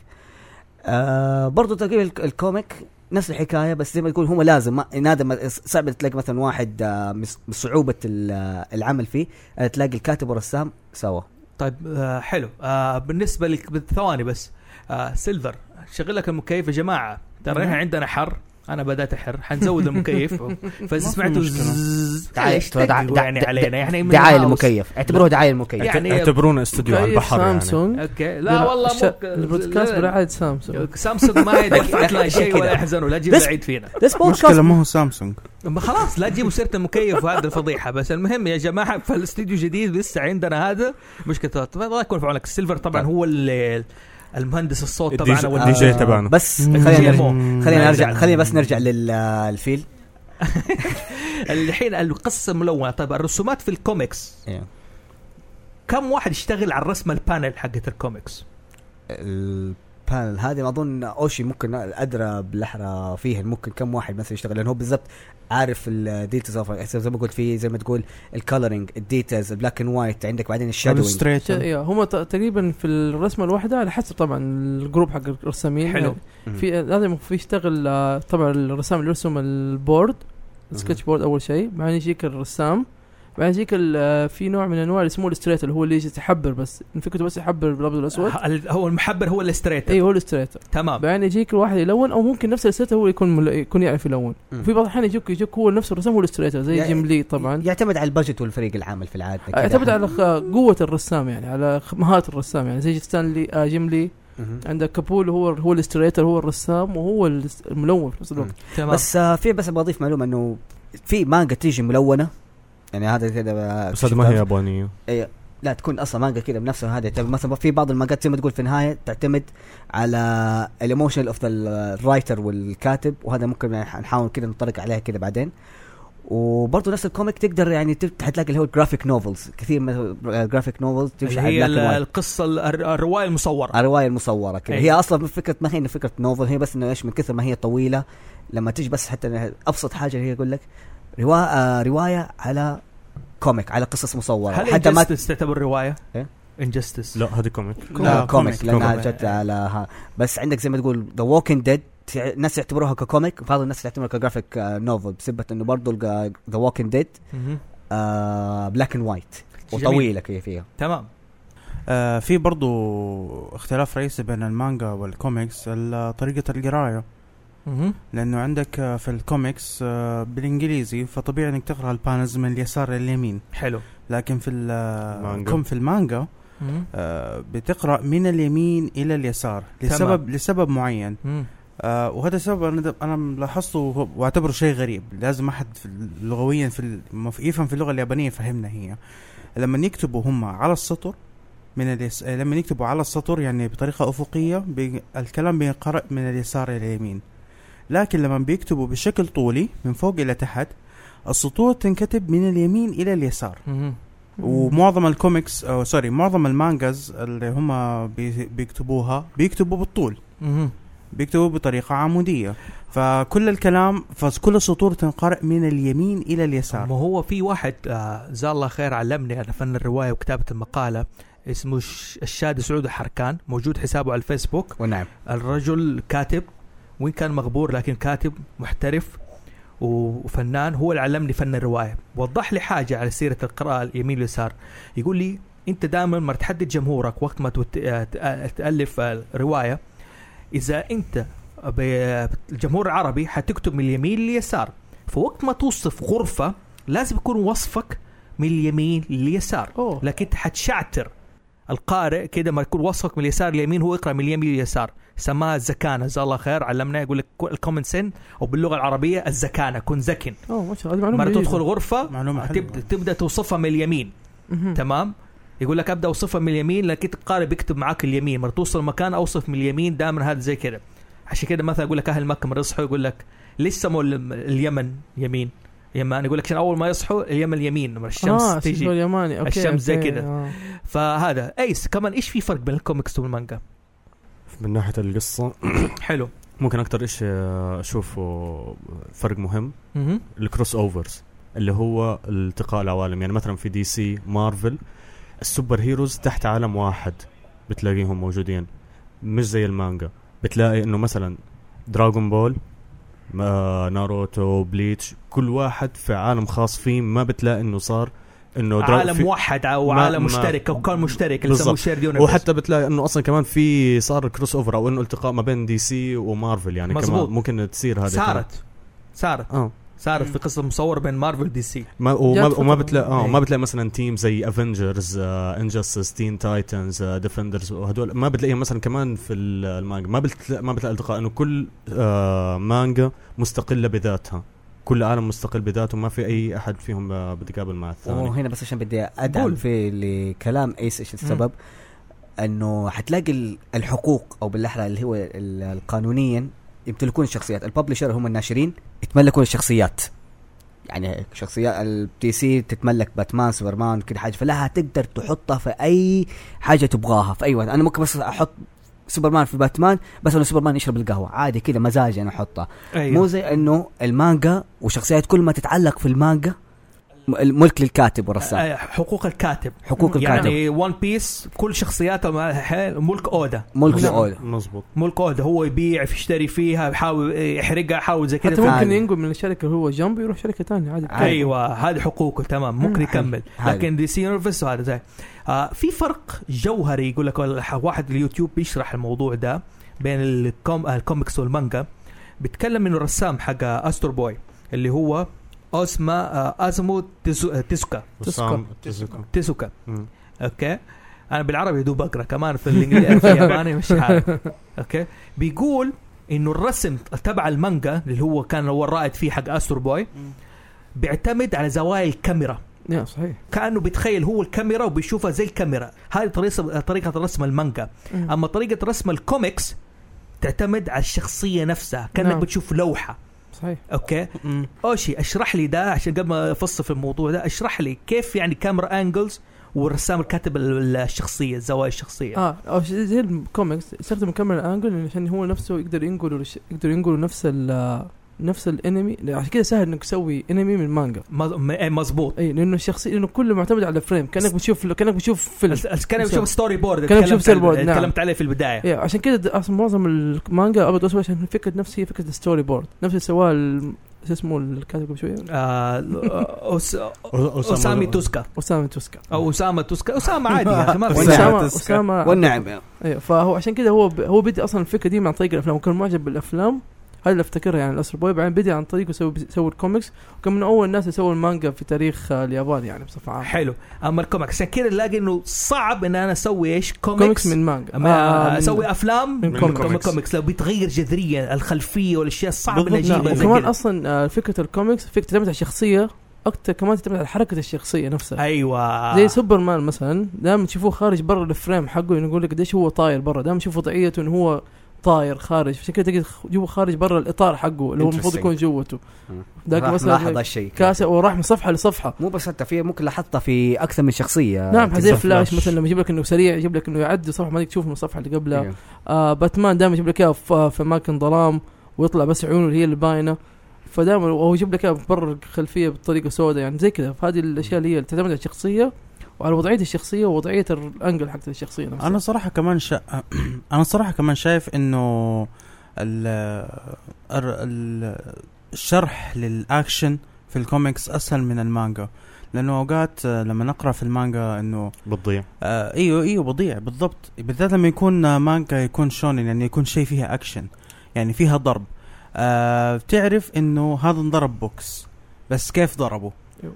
S2: آه برضه تقريبا الك- الكوميك نفس الحكايه بس زي ما تقول هم لازم ما- نادر ما- صعب تلاقي مثلا واحد آه، من ص- من صعوبه ال- آه، العمل فيه آه، تلاقي الكاتب والرسام سوا
S1: طيب آه حلو آه بالنسبه لك بالثواني بس آه سيلفر شغل لك المكيف يا جماعه ترى احنا عندنا حر انا بدات احر حنزود المكيف فاذا
S3: ما في
S1: سمعتوا
S3: مشكلة.
S1: زز-
S2: تعال،
S1: تقلقوا
S2: دع- دع-
S1: يعني
S2: دع-
S1: علينا يعني من
S2: دعايه
S1: الهاوس.
S2: للمكيف اعتبروها دعايه للمكيف
S1: يعني
S4: إيه، اعتبرونا استوديو على
S5: كيف
S4: البحر يعني
S5: سامسونج
S1: اوكي لا والله
S5: الش-
S1: مو-
S5: البودكاست
S1: لا-
S5: برعاية سامسونج
S1: سامسونج ما هي دفعت لها شيء ولا
S2: كده.
S1: يحزنوا لا تجيب
S2: بس-
S1: العيد فينا
S2: بس
S3: مشكلة
S2: بودكاست
S3: ما هو سامسونج
S1: ما خلاص لا تجيبوا سيره المكيف وهذه الفضيحه بس المهم يا جماعه فالاستديو جديد لسه عندنا هذا مشكله الله يكون في عونك السيلفر طبعا هو ال- المهندس الصوت
S4: الدي
S1: تبعنا
S4: جي-
S1: وال-
S4: الدي جي
S2: آه،
S4: تبعنا.
S2: بس
S1: الدي
S2: خلينا
S1: جي
S2: نرجع
S1: مو.
S2: خلينا نرجع
S1: نرجع.
S2: خلينا بس نرجع آه، للفيل
S1: الحين القصه ملونه طيب الرسومات في الكوميكس كم واحد يشتغل على الرسمه البانل حقت الكوميكس
S2: البانل هذه ما اظن اوشي ممكن ادرى بالاحرى فيها ممكن كم واحد مثلا يشتغل لان هو بالضبط عارف الديتيلز زي ما قلت فيه زي ما تقول الكالرنج الديتيلز البلاك اند وايت عندك بعدين الشادوينج
S5: ش-
S3: الستريتر
S5: يا، هم ت- تقريبا في الرسمه الواحده على حسب طبعا الجروب حق الرسامين
S1: حلو.
S5: يعني في لازم في يشتغل آه، طبعا الرسام اللي يرسم البورد السكتش بورد اول شيء بعدين يجيك الرسام بعدين يجيك ال- آه، في نوع من انواع اللي اسمه الاستريتر اللي هو اللي يجي يحبر بس فكرته بس يحبر بالابيض والاسود
S1: ه- هو المحبر هو الاستريتر
S2: أيوه.
S5: اي هو الاستريتر
S1: تمام
S5: بعدين يجيك الواحد يلون او ممكن نفس الاستريتر هو يكون مل... يكون يعرف يلون
S2: مم.
S5: وفي بعض الاحيان يجيك يجيك هو نفس الرسام هو الاستريتر زي
S2: يعني-
S5: جيم لي طبعا
S2: يعتمد على البجت والفريق العامل في العاده كده.
S5: يعتمد على خ- قوة الرسام يعني على خ- مهارة الرسام يعني زي ستانلي آه جيم لي
S2: مهم.
S5: عندك كابول هو هو الاستريتر هو الرسام وهو الس- الملون في نفس
S2: مم.
S5: الوقت
S1: تمام
S2: بس آه، في بس بضيف معلومه انه في مانجا تيجي ملونه يعني هذا كذا آه،
S4: بس هذه ما هي يابانيه
S2: لا تكون اصلا مانجا كذا بنفسها هذه طيب مثلا في بعض المانجات زي ما تقول في النهايه تعتمد على الايموشن اوف الرايتر والكاتب وهذا ممكن يعني نحاول كذا نطرق عليها كذا بعدين وبرضه نفس الكوميك تقدر يعني تب- حتلاقي اللي هو الجرافيك نوفلز كثير من الجرافيك نوفلز
S1: اللي
S2: تمشي
S1: هي
S2: على
S1: ال-
S2: بلاك and white.
S1: القصه ال- الر- الروايه المصوره
S2: الروايه المصوره كذا
S1: أي.
S2: هي اصلا فكره ما هي إنه فكره نوفل هي بس انه ايش من كثر ما هي طويله لما تيجي بس حتى إنها ابسط حاجه هي يقول لك روايه آه روايه على كوميك على قصص مصوره
S1: هل
S2: آه، حتى ما
S1: انجستس تعتبر آه، روايه؟
S2: إيه؟
S1: انجستس
S4: لا هذه كوميك
S2: لا كوميك لانها
S1: كوميك.
S2: جت على ها بس عندك زي ما تقول ذا ووكينج ديد الناس يعتبروها ككوميك بعض الناس تعتبرها كجرافيك آه، نوفل بسبة انه برضه ذا ووكينج ديد بلاك اند وايت
S1: جميل.
S2: وطويله كي فيها
S1: تمام
S3: آه في برضو اختلاف رئيسي بين المانجا والكوميكس ال- طريقة القراية
S1: مهم.
S3: لانه عندك آه، في الكوميكس آه، بالانجليزي فطبيعي انك تقرا البانز من اليسار لليمين
S1: حلو
S3: لكن في ال- آه،
S4: المانجا.
S3: كم في المانجا
S1: مهم.
S3: آه، بتقرا من اليمين الى اليسار لسبب لسبب معين
S1: مهم.
S3: آه وهذا السبب انا د- انا ملاحظته وهو- واعتبره شيء غريب لازم احد في ال- لغويا في ال- مف- يفهم في اللغه اليابانيه يفهمنا هي لما يكتبوا هم على السطر من اليس... آه، لما يكتبوا على السطر يعني بطريقه افقيه بي... الكلام بينقرأ من اليسار الى اليمين لكن لما بيكتبوا بشكل طولي من فوق الى تحت السطور تنكتب من اليمين الى اليسار
S1: مهم.
S3: ومعظم الكوميكس او سوري معظم المانجاز اللي هم بي- بيكتبوها بيكتبوا بالطول
S1: مهم.
S3: بيكتبوا بطريقه عموديه فكل الكلام فكل السطور تنقرأ من اليمين الى اليسار
S1: ما هو في واحد آه جزاه الله خير علمني على فن الروايه وكتابه المقاله اسمه ش- الشادي سعود حركان موجود حسابه على الفيسبوك
S2: ونعم
S1: الرجل كاتب وان كان مغبور لكن كاتب محترف وفنان هو اللي علمني فن الروايه وضح لي حاجه على سيره القراءه اليمين واليسار يقول لي انت دائما ما تحدد جمهورك وقت ما توت- آه، ت- آه، تالف آه، روايه اذا انت ب- الجمهور العربي حتكتب من اليمين لليسار فوقت ما توصف غرفه لازم يكون وصفك من اليمين لليسار
S5: اوه
S1: لكن انت حتشعتر القارئ كده ما يكون وصفك من اليسار لليمين هو يقرا من اليمين لليسار سماها الزكانه جزاه الله خير علمنا يقول لك الكومن سن او باللغه العربيه الزكانه كن زكن
S5: اوه ما شاء الله هذه معلومه
S1: مره
S5: جديدة.
S1: تدخل غرفه
S3: معلومه حلوه
S1: تبدا تبدا توصفها من اليمين
S5: مهم.
S1: تمام يقول لك ابدا اوصفها من اليمين لكن القارئ بيكتب معاك اليمين مره توصل مكان اوصف من اليمين دائما هذا زي كده عشان كده مثلا اقول لك اهل مكه مره يصحوا يقول لك ليش سموا ال- اليمن يمين يمن يقول لك عشان اول ما يصحوا اليمن يمين لما الشمس
S5: آه،
S1: تيجي
S5: شكله اليماني اوكي
S1: الشمس زي
S5: أوكي،
S1: كده.
S5: آه.
S1: فهذا ايس كمان ايش في فرق بين الكوميكس والمانجا
S4: من ناحيه القصه
S1: حلو
S4: ممكن اكثر شيء اشوفه فرق مهم
S1: مهم.
S4: الكروس اوفرز اللي هو التقاء العوالم يعني مثلا في دي سي مارفل السوبر هيروز تحت عالم واحد بتلاقيهم موجودين مش زي المانجا بتلاقي انه مثلا دراغون بول ما- ناروتو بليتش كل واحد في عالم خاص فيه ما بتلاقي انه صار انه درا-
S1: عالم
S4: في-
S1: واحد او
S4: ما-
S1: عالم
S4: ما-
S1: مشترك او كان مشترك اللي يسموه
S4: بالضبط.
S1: شيرد يونيفرس
S4: وحتى بتلاقي انه اصلا كمان في صار كروس اوفر او انه التقاء ما بين دي سي ومارفل يعني
S1: مزبوط.
S4: كمان ممكن تصير هذه
S1: صارت صارت
S4: اه
S1: صارت في قصه مصوره بين مارفل ودي سي
S4: ما
S5: جات
S4: وما,
S5: فترة.
S4: وما بتلاقي اه
S1: إيه.
S4: ما بتلاقي مثلا تيم زي آه، افنجرز انجستس تين تايتنز ديفندرز وهدول آه، ما بتلاقيهم مثلا كمان في ال- المانجا ما بتلاقي ما بتلاقي التقاء انه كل آه مانجا مستقله بذاتها كل عالم مستقل بذاته ما في اي احد فيهم آه، بتقابل مع الثاني
S2: وهنا بس عشان بدي ادعم
S1: قول.
S2: في لكلام ايس ايش السبب انه حتلاقي ال- الحقوق او بالاحرى اللي هو ال- القانونيا يمتلكون الشخصيات الببلشر هم الناشرين يتملكون الشخصيات يعني شخصيات البي سي تتملك باتمان سوبرمان كده حاجه فلها تقدر تحطها في اي حاجه تبغاها في اي وقت انا ممكن بس احط سوبرمان في باتمان بس انه سوبرمان يشرب القهوه عادي كده مزاجي انا احطها
S1: أيوه.
S2: مو زي انه المانجا وشخصيات كل ما تتعلق في المانجا م- الملك للكاتب والرسام
S1: آه، حقوق الكاتب
S2: حقوق الكاتب
S1: يعني ون بيس كل شخصياته مع- ملك اودا
S2: ملك
S5: نعم.
S2: لأودا
S4: مزبوط
S1: ملك اودا هو يبيع يشتري فيها يحاول يحرقها يحاول زي
S5: حتى
S1: كذا
S2: تمام.
S5: ممكن
S2: عادي.
S5: ينقل من الشركه اللي هو جنب يروح شركه ثانيه عادي
S2: عادي.
S1: ايوه هذه حقوقه تمام ممكن
S5: مم.
S1: يكمل
S2: عادي.
S1: لكن دي سي يونيفرس وهذا زي آه في فرق جوهري يقول لك ولا- واحد اليوتيوب بيشرح الموضوع ده بين الكوم آه، الكوميكس والمانجا بيتكلم انه الرسام حق استر بوي اللي هو اوسما آه ازمو تيزو- تيزوكا
S4: وسام-
S1: تيزوكا
S4: مم.
S1: اوكي انا بالعربي يا دوب اقرا كمان في الانجليزي في الياباني مش عارف اوكي بيقول انه الرسم تبع المانجا اللي هو كان هو الرائد فيه حق استر بوي بيعتمد على زوايا الكاميرا
S5: يا صحيح
S1: كانه بيتخيل هو الكاميرا وبيشوفها زي الكاميرا هذه طريقه طريقه رسم المانجا
S5: مم.
S1: اما طريقه رسم الكوميكس تعتمد على الشخصيه نفسها كانك
S5: نعم.
S1: بتشوف لوحه
S5: صحيح
S1: اوكي
S3: مم.
S1: اوشي اشرح لي ده عشان قبل ما افصل في الموضوع ده اشرح لي كيف يعني كاميرا انجلز والرسام الكاتب ال- الشخصيه الزوايا الشخصيه
S5: اه او شيء زي الكوميكس يستخدم الكاميرا انجل عشان هو نفسه يقدر ينقل يقدر ينقل نفس ال نفس الانمي عشان كذا سهل انك تسوي انمي من مانجا
S1: مز- م- إيه مزبوط
S5: اي لانه الشخصيه لانه كله معتمد على فريم كانك بتشوف كانك بتشوف فيلم
S1: الس- الس- كان بشوف ستوري بورد
S5: كان بشوف
S1: تكلمت
S5: story board،
S1: عن-
S5: نعم.
S1: تكلمت عليه في البدايه
S5: إيه عشان كذا د- اصلا معظم المانجا ابيض واسود عشان فكره نفسي هي فكره الستوري بورد نفس اللي سواه ال- شو اسمه الكاتب قبل شويه
S1: آه، أوس-
S4: أوسامو-
S1: اسامي توسكا
S5: اسامه توسكا
S1: او اسامه توسكا اسامه عادي يا اخي ما في
S2: أسامة
S1: مشكلة.
S5: اسامه
S3: توسكا.
S5: اسامه
S2: والنعم
S5: إيه، ايوه فهو عشان كذا هو ب... هو بدي اصلا الفكره دي من عن طريق الافلام وكان معجب بالافلام هذا اللي افتكرها يعني الاسترو بوي بعدين بدا عن طريقه سوى سوى الكوميكس وكان من اول الناس اللي سووا المانجا في تاريخ آه، اليابان يعني بصفه عامه
S1: حلو اما الكوميكس عشان كذا نلاقي انه صعب ان انا اسوي ايش
S5: كوميكس
S1: كوميكس
S5: من مانجا
S1: أما
S5: آه، من-
S1: اسوي افلام
S5: من كوميكس.
S1: من كوميكس لو بيتغير جذريا الخلفيه والاشياء صعب ان
S4: بالضبط، لا،
S1: اجيبها زي
S5: وكمان
S1: كذا.
S5: اصلا آه، فكره الكوميكس فكره تعتمد على الشخصيه اكثر كمان تعتمد على حركه الشخصيه نفسها
S1: ايوه
S5: زي سوبرمان مثلا دائما تشوفوه خارج برا الفريم حقه يعني يقول لك قديش هو طاير برا دائما تشوف وضعيته انه هو طاير خارج عشان كذا تجي جوا خارج برا الاطار حقه اللي هو المفروض
S2: Interesting.
S5: يكون جوته
S4: مم.
S5: ذاك
S2: راح
S5: مثلا
S2: ملاحظ هالشيء
S5: كاسة وراح من صفحه لصفحه
S2: مو بس حتى في ممكن لاحظته في اكثر من شخصيه
S5: نعم زي
S2: تقدر-
S5: فلاش مثلا لما يجيب لك انه سريع يجيب لك انه يعدي صفحه ما تشوف من الصفحه اللي قبلها
S2: إيه.
S5: آه باتمان دائما يجيب لك اياها ف- في اماكن ظلام ويطلع بس عيونه اللي هي اللي باينه فدائما هو يجيب لك اياها برا الخلفيه بطريقه سوداء يعني زي كذا فهذه الاشياء اللي هي اللي تعتمد على الشخصيه وعلى وضعيه الشخصيه ووضعيه الانجل حقت الشخصيه نفسها
S3: انا صراحه كمان شا... انا صراحه كمان شايف انه ال... ال... ال... الشرح للاكشن في الكوميكس اسهل من المانجا لانه اوقات آه، لما نقرا في المانجا انه
S4: بتضيع
S3: آه ايوه ايوه بضيع بالضبط بالذات لما يكون آه، مانجا يكون شونين يعني يكون شيء فيها اكشن يعني فيها ضرب آه بتعرف انه هذا انضرب بوكس بس كيف ضربه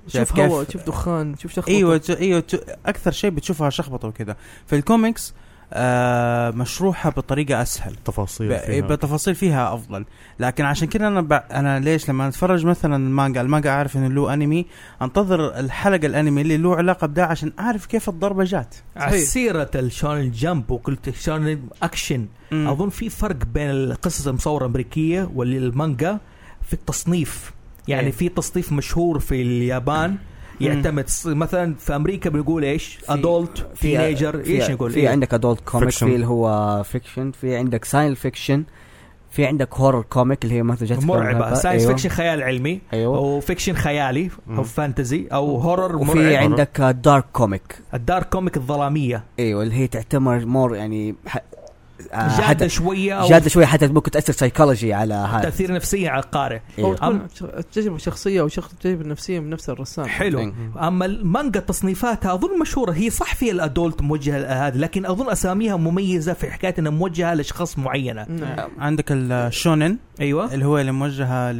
S3: شايف
S5: شوف هواء
S3: كيف-
S5: شوف دخان شوف شخص
S3: ايوه ت- ايوه ت- اكثر شيء بتشوفها شخبطه وكذا في الكوميكس آه مشروحه بطريقه اسهل
S4: تفاصيل
S1: إيه
S3: ب-
S4: أيوة، فيها.
S3: بتفاصيل فيها افضل لكن عشان كذا انا ب... انا ليش لما اتفرج مثلا المانجا المانجا اعرف انه له انمي انتظر الحلقه الانمي اللي له علاقه بده عشان اعرف كيف الضربه جات
S1: على سيرة الشون جمب وقلت شون اكشن اظن في فرق بين القصص المصوره الامريكيه والمانجا في التصنيف يعني
S3: إيه.
S1: في تصنيف مشهور في اليابان يعتمد ص- مثلا في امريكا بنقول ايش؟ ادولت تينيجر
S2: في-
S1: ايش نقول؟
S2: في
S1: إيه.
S2: عندك ادولت كوميك
S4: Fiction.
S2: في اللي هو فيكشن في عندك ساين فيكشن في عندك هورر كوميك اللي هي منتجات
S1: مرعبه ساينس
S2: أيوه.
S1: فيكشن خيال علمي
S2: ايوه
S1: او فيكشن خيالي او
S4: مم.
S1: فانتزي او هورر
S2: وفي
S1: مرعب
S2: عندك آه، دارك كوميك
S1: الدارك كوميك الظلاميه
S2: ايوه اللي هي تعتبر مور يعني ح... آه،
S1: جاده
S2: حتى-
S1: شويه او
S2: جاده شويه حتى ممكن تاثر سايكولوجي على هذا
S1: تاثير نفسي على القارئ
S5: او
S2: أيوه.
S5: تكون تجربه شخصيه او شخص تجربه نفسيه من نفس الرسام
S1: حلو اما المانجا تصنيفاتها اظن مشهوره هي صح فيها الادولت موجهه لهذا لكن اظن اساميها مميزه في حكايه انها موجهه لاشخاص معينه
S5: نعم.
S3: عندك آه، الشونن
S1: ايوه
S3: اللي هو اللي موجهه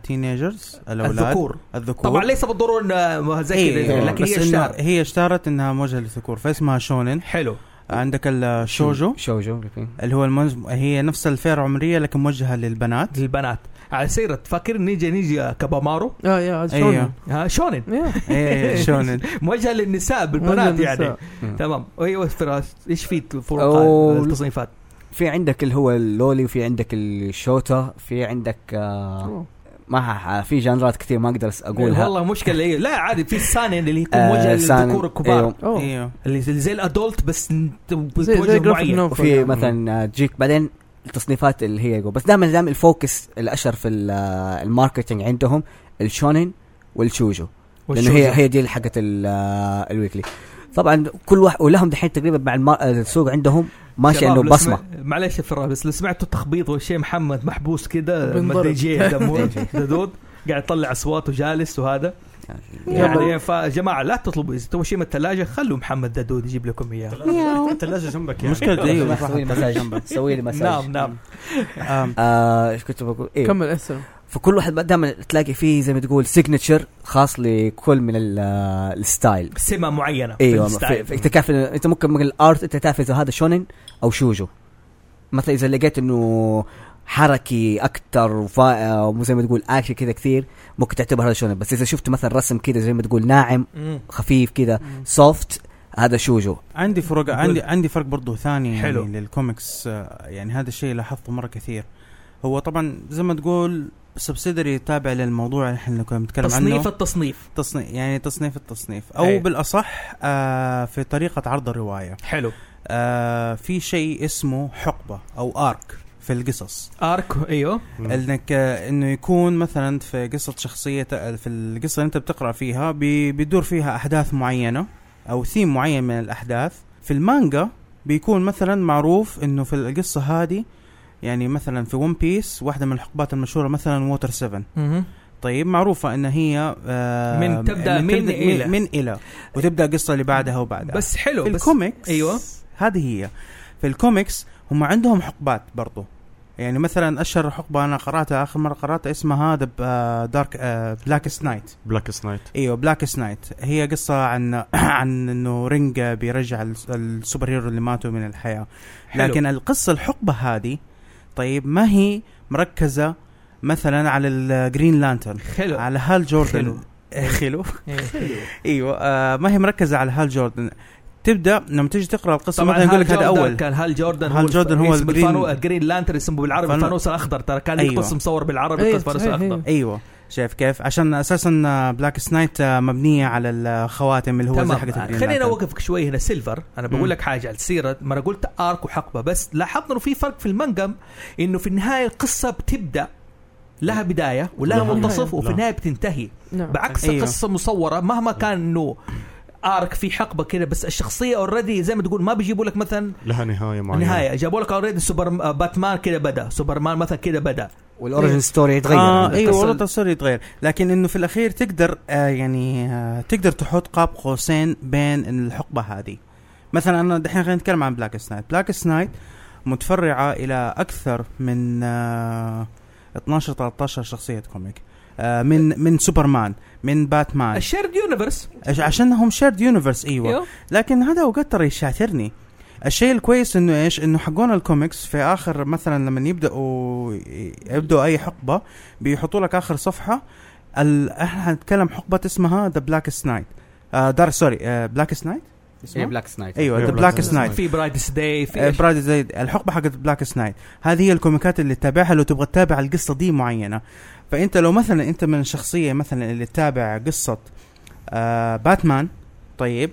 S3: للتينيجرز الاولاد
S1: الذكور
S3: الذكور
S1: طبعا ليس بالضروره إنها زي كذا
S3: إيه.
S1: لكن
S3: بس
S1: هي
S3: إنه
S1: الشعر
S3: هي اشتهرت انها موجهه للذكور فاسمها شونن
S1: حلو
S3: عندك الشوجو
S2: شوجو في-
S3: اللي هو المنز... هي نفس الفئه العمريه لكن موجهه للبنات
S1: للبنات على سيرة فاكر نيجي نيجي كابامارو
S5: اه يا هذا شونن.
S3: ايوه
S1: ها شونن
S5: يا.
S3: ايه شونن
S1: موجهه للنساء
S5: هذا
S1: بالبنات
S5: النساء.
S1: يعني
S2: مم.
S1: تمام ايوه فراس ايش في
S2: أو-
S1: فروقات التصنيفات
S2: في عندك اللي هو اللولي وفي عندك الشوتا في عندك آه
S5: أوه.
S2: ما ح- في جانرات كثير ما اقدر أس- اقولها
S1: والله مشكله إيه. لا عادي في السانين اللي يكون
S2: آه،
S1: موجه
S2: سان-
S1: للذكور الكبار
S2: أيوه.
S5: أوه.
S3: ايوه
S1: اللي زي الادولت بس
S5: زي زي
S1: بتوجه
S5: جرافيك
S1: معين
S5: نوفل
S2: وفي
S5: يعني.
S2: مثلا آه، تجيك بعدين التصنيفات اللي هي جو. بس دائما دائما الفوكس الاشهر في ال- آه، الماركتينج عندهم الشونين والشوجو لانه هي هي دي حقت ال- آه، الويكلي طبعا كل واحد ولهم دحين تقريبا مع المار- السوق عندهم ماشي
S1: شباب،
S2: انه
S1: لو
S2: بصمه
S1: سمع- معليش يا فراس بس لو سمعتوا التخبيط والشيء محمد محبوس كده
S5: بنضرب.
S1: ما أدري جي ده مو- ده دود قاعد يطلع اصوات وجالس وهذا يعني فجماعه لا تطلبوا اذا تبغوا شيء من الثلاجه خلوا محمد دادود يجيب لكم اياه
S4: الثلاجه جنبك يعني
S3: مشكلة ايوه
S2: سوي لي مساج سوي لي مساج
S1: أيوة. نعم نعم
S3: آم،
S2: آه، ايش كنت بقول؟ ايه
S5: كمل إيه، اسلم
S2: فكل واحد دائما تلاقي فيه زي ما تقول سيجنتشر خاص لكل من ال- آه، الستايل
S1: سمه معينه في
S2: ايوه في
S1: الستايل.
S2: في- انت كيف انت ممكن من الارت انت تعرف اذا هذا شونن او شوجو مثلا اذا لقيت انه حركي اكثر وفا- وزي ما تقول اكشن كذا كثير ممكن تعتبر هذا شونن بس اذا شفت مثلا رسم كذا زي ما تقول ناعم
S1: مم.
S2: خفيف كذا سوفت هذا شوجو
S3: عندي فروق عندي عندي فرق برضو ثاني يعني
S1: حلو.
S3: للكوميكس آه، يعني هذا الشيء لاحظته مره كثير هو طبعا زي ما تقول سبسيدري تابع للموضوع اللي احنا كنا بنتكلم
S1: تصنيف
S3: عنه
S1: التصنيف
S3: تصنيف يعني تصنيف التصنيف او
S1: أي.
S3: بالاصح آه في طريقه عرض الروايه
S1: حلو
S3: آه في شيء اسمه حقبه او ارك في القصص
S1: ارك ايوه
S3: انك انه يكون مثلا في قصه شخصيه في القصه اللي انت بتقرا فيها بي- بيدور فيها احداث معينه او ثيم معين من الاحداث في المانجا بيكون مثلا معروف انه في القصه هذه يعني مثلا في ون بيس واحده من الحقبات المشهوره مثلا ووتر 7
S1: مهم.
S3: طيب معروفه ان هي آه
S1: من تبدأ من
S3: تبدأ
S1: إلى.
S3: من الى وتبدا القصه اللي بعدها وبعدها
S1: بس حلو
S3: في
S1: بس
S3: الكوميكس
S1: أيوة.
S3: هذه هي في الكوميكس هم عندهم حقبات برضو يعني مثلا اشهر حقبه انا قراتها اخر مره قراتها اسمها uh, هذا دارك بلاك سنايت
S4: بلاك سنايت
S3: ايوه بلاك سنايت هي قصه عن عن انه رينج بيرجع ال- السوبر هيرو اللي ماتوا من الحياه
S1: حلو.
S3: لكن القصه الحقبه هذه طيب ما هي مركزه مثلا على الجرين لانترن
S1: حلو
S3: على هال
S1: حلو.
S3: جوردن خلو
S1: إيه.
S3: ايوه آه ما هي مركزه على هال جوردن تبدا لما تيجي تقرا القصه
S1: طبعا
S3: مثلا يقول لك هذا اول
S1: كان هال جوردن
S3: هال جوردن هو
S1: اسمه
S3: الجرين-
S1: الفانو- الجرين لانتر اسمه بالعربي
S3: فانو-
S1: الفانوس الاخضر ترى كان
S3: أيوة.
S1: أيوة. قصه مصور بالعربي
S5: أيوة،
S1: قصة الفانوس
S5: صحيح،
S1: الاخضر
S5: أيوة.
S3: ايوه شايف كيف عشان اساسا آه، بلاك سنايت آه، مبنيه على الخواتم اللي هو زي حقت
S1: تمام
S3: الجرين
S1: خليني
S3: لانترن.
S1: اوقفك شوي هنا سيلفر انا
S3: مم.
S1: بقول لك حاجه على السيره ما انا قلت ارك وحقبه بس لاحظنا انه في فرق في المانجا انه في النهايه القصه بتبدا لها بدايه ولها
S4: لها
S1: منتصف
S5: نهاية.
S1: وفي
S4: لا.
S1: النهايه بتنتهي
S5: نعم
S1: بعكس
S3: أيوه.
S1: أيوه. القصه مصوره مهما كان انه ارك في حقبه كده بس الشخصيه اوريدي زي ما تقول ما بيجيبوا لك مثلا
S4: لها نهايه
S3: يعني.
S4: معينه
S1: نهايه جابوا لك اوريدي سوبر آه، باتمان كده بدا سوبرمان مثلا كده بدا إيه.
S2: والاوريجن ستوري يتغير
S3: آه ايوه
S1: التصل-
S3: والله التصوير يتغير لكن انه في الاخير تقدر آه يعني آه تقدر تحط قاب قوسين بين الحقبه هذه مثلا انا دحين خلينا نتكلم عن بلاك سنايت بلاك سنايت متفرعه الى اكثر من آه 12 13 شخصيه كوميك آه من من سوبرمان من باتمان
S1: الشيرد يونيفرس
S3: عش- عشانهم شيرد يونيفرس ايوه لكن هذا اوقات ترى يشاثرني الشيء الكويس انه ايش انه حقون الكوميكس في اخر مثلا لما يبداوا يبدوا اي حقبه بيحطوا لك اخر صفحه ال... احنا هنتكلم حقبه اسمها ذا بلاك سنايت دار سوري بلاك سنايت
S2: بلاك سنايت
S3: ايوه
S1: أيوة،
S4: إيه،
S3: ذا
S4: Black
S3: بلاك
S4: Knight.
S3: سنايت
S1: في برايتس داي
S3: Eh,
S1: في إيش؟
S3: آه، براد زيد الحقبه حقت بلاك سنايت هذه هي الكوميكات اللي تتابعها لو تبغى تتابع القصه دي معينه فانت لو مثلا انت من شخصيه مثلا اللي تتابع قصه آه باتمان طيب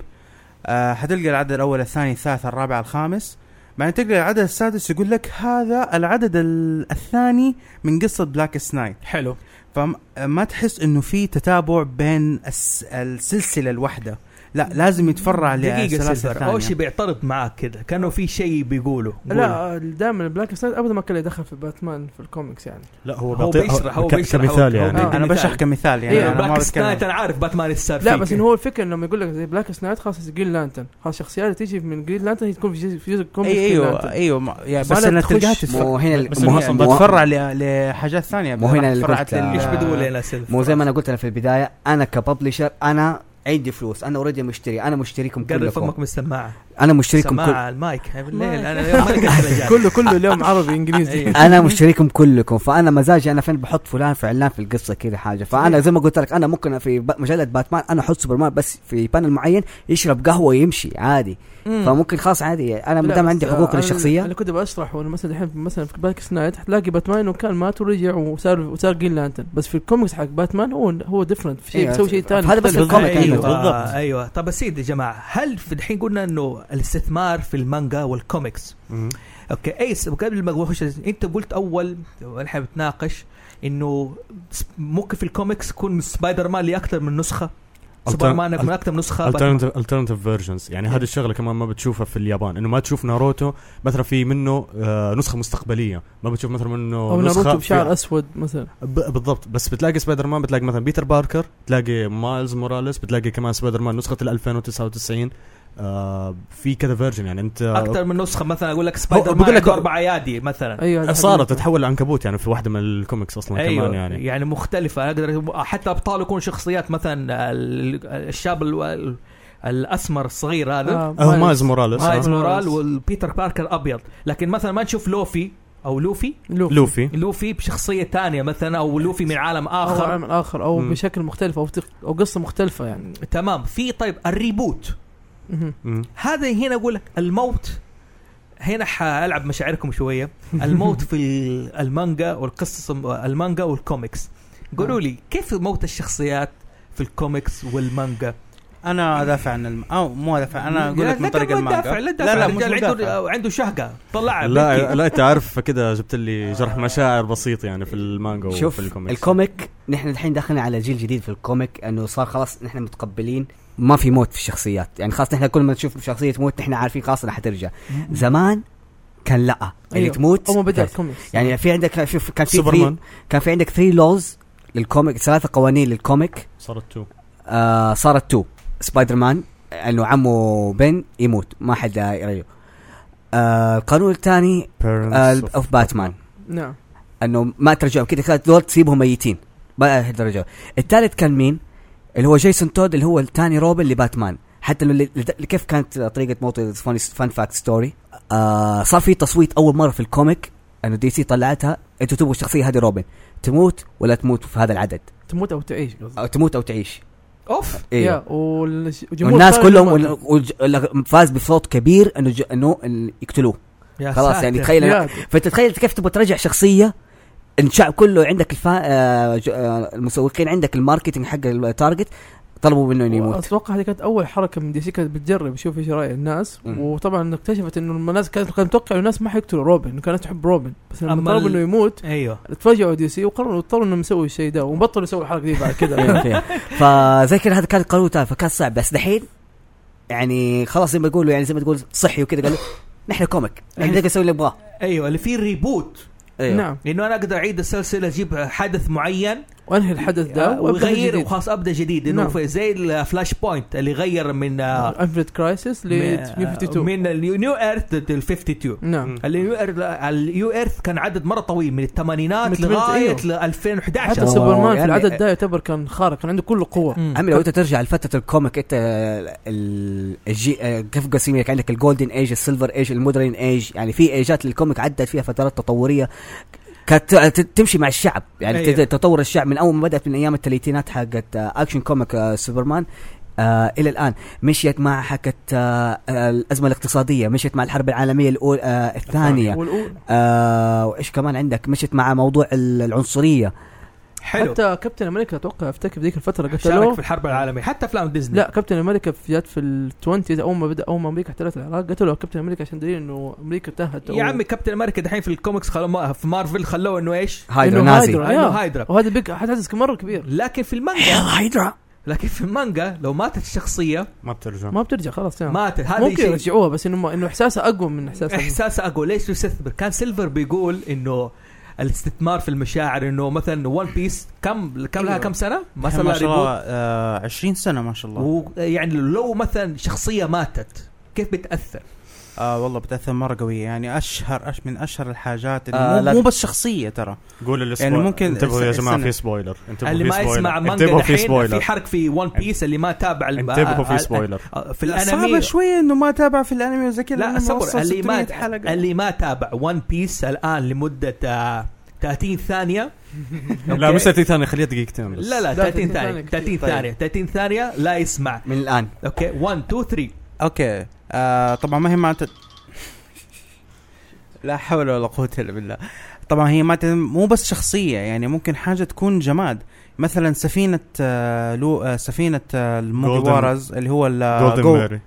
S3: آه حتلقى العدد الاول الثاني الثالث الرابع الخامس بعدين تلقى العدد السادس يقول لك هذا العدد ال- الثاني من قصه بلاك سنايت
S1: حلو
S3: فما تحس انه في تتابع بين الس السلسله الواحده لا لازم يتفرع
S1: دقيقه
S3: للسلاسل
S1: سيلفر اول شيء
S3: الثانيه
S1: بيعترض معاك كذا كانه في شيء بيقوله قول.
S5: لا دائما بلاك سنايت ابدا ما كان له دخل في باتمان في الكوميكس يعني
S4: لا هو
S1: هو
S4: بيعطي-
S1: بيشرح- هو
S4: ك-
S1: بيشرح، هو-
S4: كمثال
S1: هو
S4: يعني
S5: بيعطي-
S3: انا
S1: مثال.
S3: بشرح كمثال يعني
S5: إيه،
S1: يعني
S3: انا ما
S1: بلاك
S3: بتكلم
S1: سنايت انا عارف باتمان السالفه
S5: لا بس إن هو الفكره انه لما يقول لك زي بلاك سنايت خلاص جرين لانترن خلاص الشخصيات اللي تيجي من جرين لانترن هي تكون في جزء في جزء كوميكس
S3: اي
S1: إيوه،
S5: Green
S2: أيوه،
S3: ايوه
S5: Lantern.
S3: ايوه ما- يعني
S4: بس
S3: بس
S4: لا
S3: انا
S4: تخش
S3: تلقاها
S2: مو
S3: تتفرع
S2: هنا
S4: بس
S2: مو-
S4: هي أصلاً
S2: مو-
S3: بتفرع ل- لحاجات ثانيه
S2: مو هنا اللي قلت-
S3: تفرعت لل-
S1: ايش
S2: آه.
S1: بدول لنا سيلفر
S2: مو زي ما انا قلت انا في البدايه انا كببلشر انا عندي فلوس انا اوريدي مشتري انا مشتريكم
S1: قرب
S2: كلكم
S1: فمك من السماعه
S2: انا مشتريكم كل
S1: سماعه المايك
S5: مايك.
S1: بالليل انا اليوم ما لقيت رجال.
S5: كله كله اليوم عربي انجليزي
S1: أيوة.
S2: انا مشتريكم كلكم فانا مزاجي انا فين بحط فلان في علان في القصه كذا حاجه فانا زي ما قلت لك انا ممكن في ب- مجله باتمان انا احط سوبرمان بس في بانل معين يشرب قهوه ويمشي عادي
S1: مم.
S2: فممكن خلاص عادي انا ما
S5: لا،
S2: دام
S5: بس
S2: عندي
S5: آه،
S2: حقوق
S5: أنا
S2: للشخصيه
S5: اللي كنت بشرح انه مثلا الحين مثلا في بلاك سنايت حتلاقي باتمان انه كان مات ورجع وصار وصار جرين لانترن بس في الكوميكس حق باتمان هو هو ديفرنت في شيء
S2: إيه،
S5: بيسوي شيء ثاني
S2: هذا بس في الكوميك
S1: ايوه
S2: يعني.
S4: بالضبط.
S1: بالضبط ايوه طب سيدي يا جماعه هل في الحين قلنا انه الاستثمار في المانجا والكوميكس
S4: مم.
S1: اوكي اي س- قبل ما اخش انت قلت اول احنا بنتناقش انه س- ممكن في الكوميكس يكون سبايدر مان لي اكثر من نسخه
S4: Altern-
S1: سوبر مان
S4: Al-
S1: من اكثر من نسخه باتمان.
S4: alternative alternative versions يعني
S5: إيه.
S4: هذه الشغله كمان ما بتشوفها في اليابان انه ما تشوف ناروتو مثلا في منه آه، نسخه مستقبليه ما بتشوف مثلا منه
S5: او
S4: نسخه
S5: ناروتو
S4: في-
S5: بشعر اسود مثلا
S4: ب- بالضبط بس بتلاقي سبايدر مان بتلاقي مثلا بيتر باركر بتلاقي مايلز موراليس بتلاقي كمان سبايدر مان نسخه ال 2099 آه في كذا فيرجن يعني انت
S1: اكثر من نسخه مثلا اقول لك سبايدر
S4: بقول
S1: مان
S4: لك-
S1: عنده اربع ايادي مثلا
S5: ايوه هذا
S4: صارت
S5: حقيقة.
S4: تتحول لعنكبوت يعني في واحده من الكوميكس اصلا أيوة كمان يعني
S1: يعني مختلفه اقدر حتى ابطاله يكون شخصيات مثلا ال- الشاب ال- ال- الاسمر الصغير هذا
S5: آه،
S4: هو
S5: مايلز.
S4: مايلز موراليس
S1: مايلز
S4: آه.
S1: مورال والبيتر باركر ابيض لكن مثلا ما نشوف لوفي او لوفي
S5: لوفي.
S4: لوفي
S1: لوفي بشخصيه ثانيه مثلا او لوفي من عالم
S5: او
S1: اخر
S5: عمل اخر او
S4: مم.
S5: بشكل مختلف او تق- او قصه مختلفه يعني
S1: تمام في طيب الريبوت
S5: مهم.
S4: مم.
S1: هذا هنا اقول لك الموت هنا حالعب مشاعركم شويه الموت في ال- المانجا والقصص المانجا والكوميكس قولوا لي كيف موت الشخصيات في الكوميكس والمانجا
S3: انا ادافع عن الم... او مو ادافع انا اقول
S1: لا،
S3: لك من
S1: لا
S3: طريق
S1: تقول
S3: المانجا
S1: دافع، لا
S3: لا لا مش
S1: الرجال
S3: مدافع.
S1: عنده عنده شهقه طلعها
S4: لا
S1: بكي.
S4: لا انت عارف كده جبت لي جرح مشاعر بسيط يعني في المانجا
S2: شوف
S4: وفي الكوميكس
S2: الكوميك نحن الحين دخلنا على جيل جديد في الكوميك انه صار خلاص نحن متقبلين ما في موت في الشخصيات يعني خلاص نحن كل ما نشوف شخصيه تموت نحن عارفين خلاص انها حترجع زمان كان لا اللي
S5: أيوه.
S2: تموت
S5: او ما بدا
S2: ترجع.
S5: الكوميكس
S2: يعني في عندك شوف كان في
S4: سوبرمان
S2: three- كان في عندك 3 لوز للكوميك ثلاثه قوانين للكوميك
S4: صارت تو
S2: آه صارت تو سبايدر مان انه عمه بن آه، يموت ما حد يرجعه آه القانون الثاني اوف باتمان
S5: نعم
S2: انه ما ترجعهم كذا كانت دول تسيبهم ميتين ما ترجعوا الثالث كان مين؟ اللي هو جيسون تود اللي هو الثاني روبن لباتمان حتى اللي اللي- كيف كانت طريقه موته فان فاكت ستوري آه صار في تصويت اول مره في الكوميك انه دي سي طلعتها انتوا تبغوا الشخصيه هذه روبن تموت ولا تموت في هذا العدد
S5: تموت او تعيش قصدي
S2: او تموت او تعيش
S1: اوف
S2: ايوه
S5: يا، والش- والجمهور
S2: والناس
S5: صار
S2: كلهم
S5: يتمرن.
S2: وال- والج- اللي فاز بصوت كبير انه ج- انه إن يقتلوه
S1: يا
S2: خلاص
S1: ساتر.
S2: يعني تخيل أنا-
S5: يا،
S2: فانت تخيل كيف تبغى ترجع شخصيه الشعب كله عندك الفا... آه، ج- آه، المسوقين عندك الماركتنج حق التارجت طلبوا منه انه يموت
S5: اتوقع هذه كانت اول حركه من دي سي كانت بتجرب يشوف ايش راي الناس
S2: مم.
S5: وطبعا اكتشفت انه الناس كانت كانت متوقع انه الناس ما حيقتلوا روبن انه كانت تحب روبن بس لما
S1: أما
S5: طلبوا
S1: ال-
S5: انه يموت
S1: ايوه
S5: تفاجئوا دي سي وقرروا اضطروا انهم يسووا الشيء ده وبطلوا يسووا الحركه دي بعد كذا
S2: إيه، فزي كذا هذا كان قانون تافه فكان صعب بس دحين يعني خلاص زي ما يقولوا يعني زي ما تقول صحي وكذا قالوا نحن كوميك نحن نقدر نسوي اللي نبغاه إيه.
S1: ايوه اللي فيه ريبوت
S2: أيوه.
S5: نعم
S1: انه انا اقدر اعيد السلسله اجيب حدث معين
S5: وانهي الحدث ده
S1: آه، ويغير
S5: وابدا
S1: وخلاص ابدا جديد انه
S5: نعم.
S1: في- زي الفلاش بوينت اللي غير من آه،
S5: انفنت كرايسيس ل
S1: من- آه،
S5: 52
S1: من النيو ايرث لل 52
S5: نعم
S1: اليو ايرث اليو ايرث كان عدد مره طويل من
S5: من
S1: الثمانينات
S5: الثمانينات،
S1: لغايه
S5: أيوه.
S1: ل 2011
S5: حتى
S2: أوه،
S5: سوبرمان في
S2: يعني-
S5: العدد ده يعتبر كان خارق كان عنده كل القوه
S1: مم.
S2: عمي لو انت ترجع لفتره الكوميك انت ال- الجي اه، كيف قسم لك عندك الجولدن ايج السيلفر ايج المودرن ايج يعني في ايجات للكوميك عدت فيها فترات تطوريه كانت ت- تمشي مع الشعب يعني
S1: ايوه.
S2: أيه. تطور الشعب من اول ما بدات من ايام الثلاثينات حقت اه، اكشن كوميك اه، سوبرمان آه الى الان مشيت مع حقت آه اه، الازمه الاقتصاديه مشيت مع الحرب العالميه الاولى آه الثانيه
S5: والأولى
S2: آه وايش كمان عندك مشيت مع موضوع ال- العنصريه
S1: حلو
S5: حتى كابتن امريكا اتوقع افتكر ذيك الفتره
S1: شارك
S5: قتلوه
S1: في الحرب العالميه حتى افلام ديزني
S5: لا كابتن امريكا في- جات في التوينتيز اول ما بدا اول ما امريكا احتلت العراق قتلوا كابتن امريكا عشان دليل انه امريكا انتهت
S1: يا عمي كابتن امريكا دحين في الكوميكس خلوه ما- في مارفل خلوه انه ايش؟
S2: هايدرا
S5: إنه
S2: نازي
S5: هايدرا.
S1: انه
S5: يا.
S1: هايدرا
S5: وهذا بيج حدث مره كبير
S1: لكن في المانجا
S2: هايدرا
S1: لكن في المانجا لو ماتت الشخصيه
S4: ما بترجع
S5: ما بترجع خلاص يعني
S1: ماتت هذا
S5: ممكن
S1: شيء إيه.
S5: يرجعوها بس انه ما- انه احساسها اقوى من احساس
S1: احساس اقوى ليش يستثمر؟ كان سيلفر بيقول انه الاستثمار في المشاعر انه مثلا ون بيس كم كم لها
S5: أيوه.
S1: كم سنه؟ ما
S3: ما
S1: صار لها
S3: شاء الله
S1: ريبوت
S3: آه 20 سنه ما شاء الله
S1: ويعني لو مثلا شخصيه ماتت كيف بتاثر؟
S3: آه والله بتاثر مره قويه يعني اشهر أش من اشهر الحاجات اللي
S2: آه،
S3: آه
S2: لا
S3: مو, مو بس شخصيه ترى
S4: قول الاسبوع
S3: يعني ممكن
S4: انتبهوا يا
S3: الس-
S4: جماعه
S3: السنة.
S4: في سبويلر انتبهوا
S1: اللي
S4: في
S1: ما
S4: سبويلر
S1: يسمع مانجا
S4: انتبهوا في
S1: دحين في
S4: سبويلر
S1: حرق في ون بيس اللي ما تابع الب-
S4: انتبهوا
S1: آه، آه،
S4: في سبويلر
S1: آه، في
S3: صعبه
S1: الانمي
S3: شويه انه ما تابع في الانمي وزي كذا
S1: لا
S3: لأنه
S1: صبر
S3: موصل
S1: اللي
S3: 600
S1: ما
S3: حلقه
S1: اللي ما تابع ون بيس الان لمده آه، 30 ثانية
S4: لا مش 30 ثانيه خليها دقيقتين بس
S1: آه، لا لا 30
S5: 30
S1: ثانية
S5: ثانية
S1: 30
S5: كتير.
S1: ثانية 30 ثانية لا يسمع
S2: من الان
S1: اوكي 1 2 3
S3: اوكي آه طبعا ما هي ما ت... لا حول ولا قوة الا بالله طبعا هي ما ت... مو بس شخصية يعني ممكن حاجة تكون جماد مثلا سفينة آه لو آه سفينة آه الموجوارز اللي هو آه،
S4: جولدن
S1: آه،
S4: ماري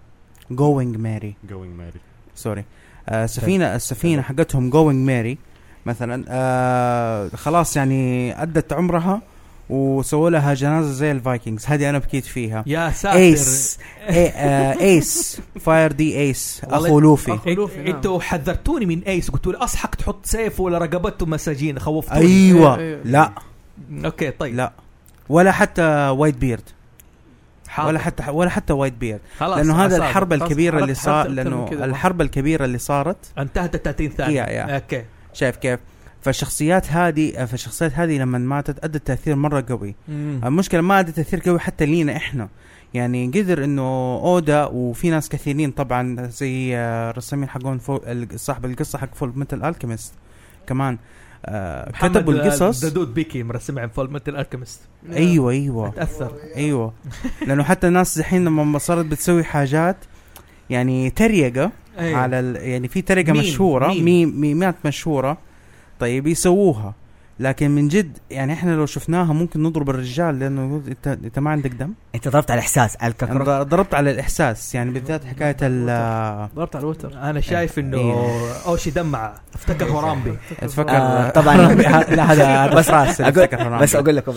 S3: جوينج ماري
S4: جوينج ماري
S3: سوري آه سفينة السفينة حقتهم جوينج ماري مثلا آه خلاص يعني أدت عمرها وسووا لها جنازة زي الفايكنجز هذه أنا بكيت فيها
S1: يا ساتر
S3: ايس إي- آه، ايس فاير دي ايس
S1: والله
S3: اخو لوفي
S1: أنت-
S5: خلوفي، نعم.
S1: انتوا حذرتوني من ايس قلتوا لي اصحك تحط سيف ولا رقبته مساجين خوفتوني
S3: ايوه
S5: إيه، إيه.
S3: لا
S1: اوكي طيب
S3: لا ولا حتى وايت بيرد
S1: حاضر.
S3: ولا حتى ولا حتى وايت بيرد
S1: خلاص
S3: لانه هذا
S1: أصابع.
S3: الحرب
S5: خلاص،
S3: الكبيره
S5: حركت
S3: اللي
S5: حركت
S3: صار
S5: أكثر من
S3: لانه
S5: كده برضه.
S3: الحرب الكبيره اللي صارت
S1: انتهت ال 30 ثانية
S3: يا يا
S1: اوكي
S3: شايف كيف فالشخصيات هذه فالشخصيات هذه لما ماتت ادت تاثير مره قوي المشكله ما ادت تاثير قوي حتى لينا احنا يعني قدر انه اودا وفي ناس كثيرين طبعا زي آه، الرسامين حقون فول ال- صاحب القصه حق فول ميتال الكيمست كمان آه،
S1: محمد
S3: كتبوا القصص
S1: ددود بيكي مرسم عن فول متل الكيمست
S3: ايوه ايوه
S1: تاثر
S3: ايوه لانه حتى الناس الحين لما صارت بتسوي حاجات يعني تريقه
S1: أيوة.
S3: على ال... يعني في تريقه
S1: ميم،
S3: مشهوره
S1: ميم.
S3: ميم ميمات مشهوره طيب يسووها لكن من جد يعني احنا لو شفناها ممكن نضرب الرجال لانه يقول انت انت ما عندك دم
S2: انت ضربت على احساس على
S3: أنا
S2: الكاكرو
S3: يعني ض- ضربت على الاحساس يعني بالذات حكايه ال
S5: ضربت على الوتر
S1: انا شايف انه
S3: إيه.
S1: اوشي دمع افتكر هورامبي
S3: اتفكر
S2: آه، طبعا لا هذا بس راس
S3: أقول-
S2: بس اقول لكم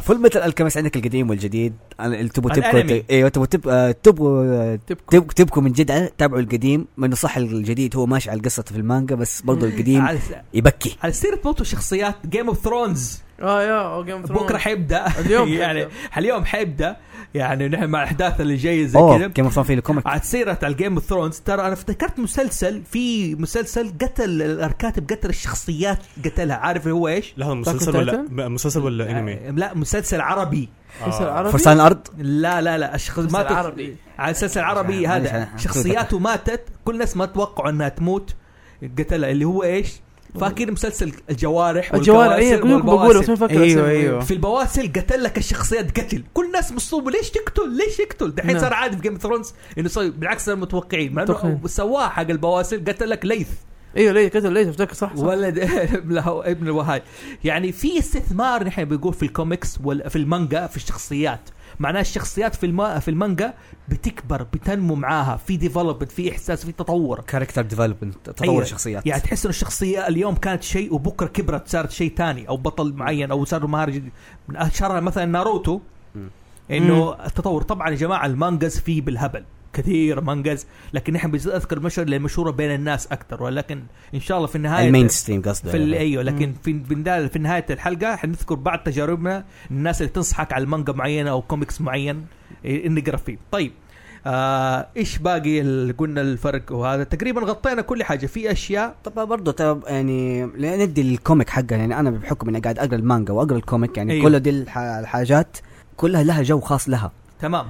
S2: فول ميتال الكيمست عندك القديم والجديد أنا- اللي تبوا
S1: الأنمي.
S2: تبكوا ت- ايوه تبوا تب- آه، تبوا
S5: تبكوا
S2: تب- تبكوا من جد تابعوا القديم منه صح الجديد هو
S3: إيه.
S2: ماشي على القصه في المانجا بس برضو القديم
S1: على
S2: يبكي
S1: على سيرة موت الشخصيات جيم اوف ثرونز
S5: اه يا أو Game of Thrones.
S1: بكره حيبدا
S5: اليوم
S1: يعني اليوم حيبدا يعني نحن مع الاحداث اللي جايه زي
S2: اوه
S1: كذا
S2: جيم اوف في الكوميك
S1: عاد سيرة على الجيم اوف ثرونز ترى انا افتكرت مسلسل في مسلسل قتل الاركاتب قتل الشخصيات قتلها عارف هو ايش؟
S4: لحظه مسلسل
S5: Attack on
S4: ولا
S5: Titan؟
S4: م- مسلسل ولا انمي؟
S1: آه، لا مسلسل عربي
S5: مسلسل
S4: آه.
S5: عربي
S2: فرسان الارض
S1: لا لا لا الشخص
S5: مسلسل
S1: ماتت
S5: عربي
S1: على مسلسل عربي
S2: معلش،
S1: هذا
S2: أنا-
S1: شخصياته ماتت كل الناس ما توقعوا انها تموت قتلها اللي هو ايش؟ فاكر مسلسل الجوارح
S5: الجوال اي
S1: والكواسر
S5: كلكم بقوله بس ما فاكر
S3: أيوة،
S5: أسمه.
S3: أيوة.
S1: في البواسل قتل لك الشخصيات قتل كل الناس مصطوبه ليش تقتل ليش يقتل دحين
S5: نعم.
S1: صار عادي في جيم اوف ثرونز انه صار بالعكس صار متوقعين مع انه
S5: متوقعين.
S1: سواه حق البواسل قتل لك ليث
S5: ايوه ليه كتب ليه افتكر صح صح
S1: ولد لا، هو ابن الوهاي يعني في استثمار نحن بنقول في الكوميكس وفي المانجا في الشخصيات معناه الشخصيات في الما في المانجا بتكبر بتنمو معاها في ديفلوبمنت في احساس في تطور
S2: كاركتر ديفلوبمنت
S1: أيوة.
S2: تطور الشخصيات
S1: يعني تحس انه الشخصيه اليوم كانت شيء وبكره كبرت صارت شيء ثاني او بطل معين او صار مهار جديد من اشهرها مثلا ناروتو
S2: مم.
S1: انه التطور طبعا يا جماعه المانجز فيه بالهبل كثير مانجز لكن نحن بنذكر المشهد اللي مشهوره بين الناس اكثر ولكن ان شاء الله في النهايه
S2: المين ستريم آه، قصده
S1: في ال-
S2: يعني.
S1: ايوه لكن
S3: مم.
S1: في بالنهاية- في نهايه الحلقه حنذكر بعض تجاربنا الناس اللي تنصحك على المانجا معينه او كوميكس معين إيه، نقرا فيه طيب آه ايش باقي ال- قلنا الفرق وهذا تقريبا غطينا كل حاجه في اشياء
S2: طبعا برضه طب يعني لا- ندي الكوميك حقها يعني انا بحكم اني قاعد اقرا المانجا واقرا الكوميك يعني
S1: أيوة.
S2: أيوه. كل دي الح- الحاجات كلها لها جو خاص لها
S1: تمام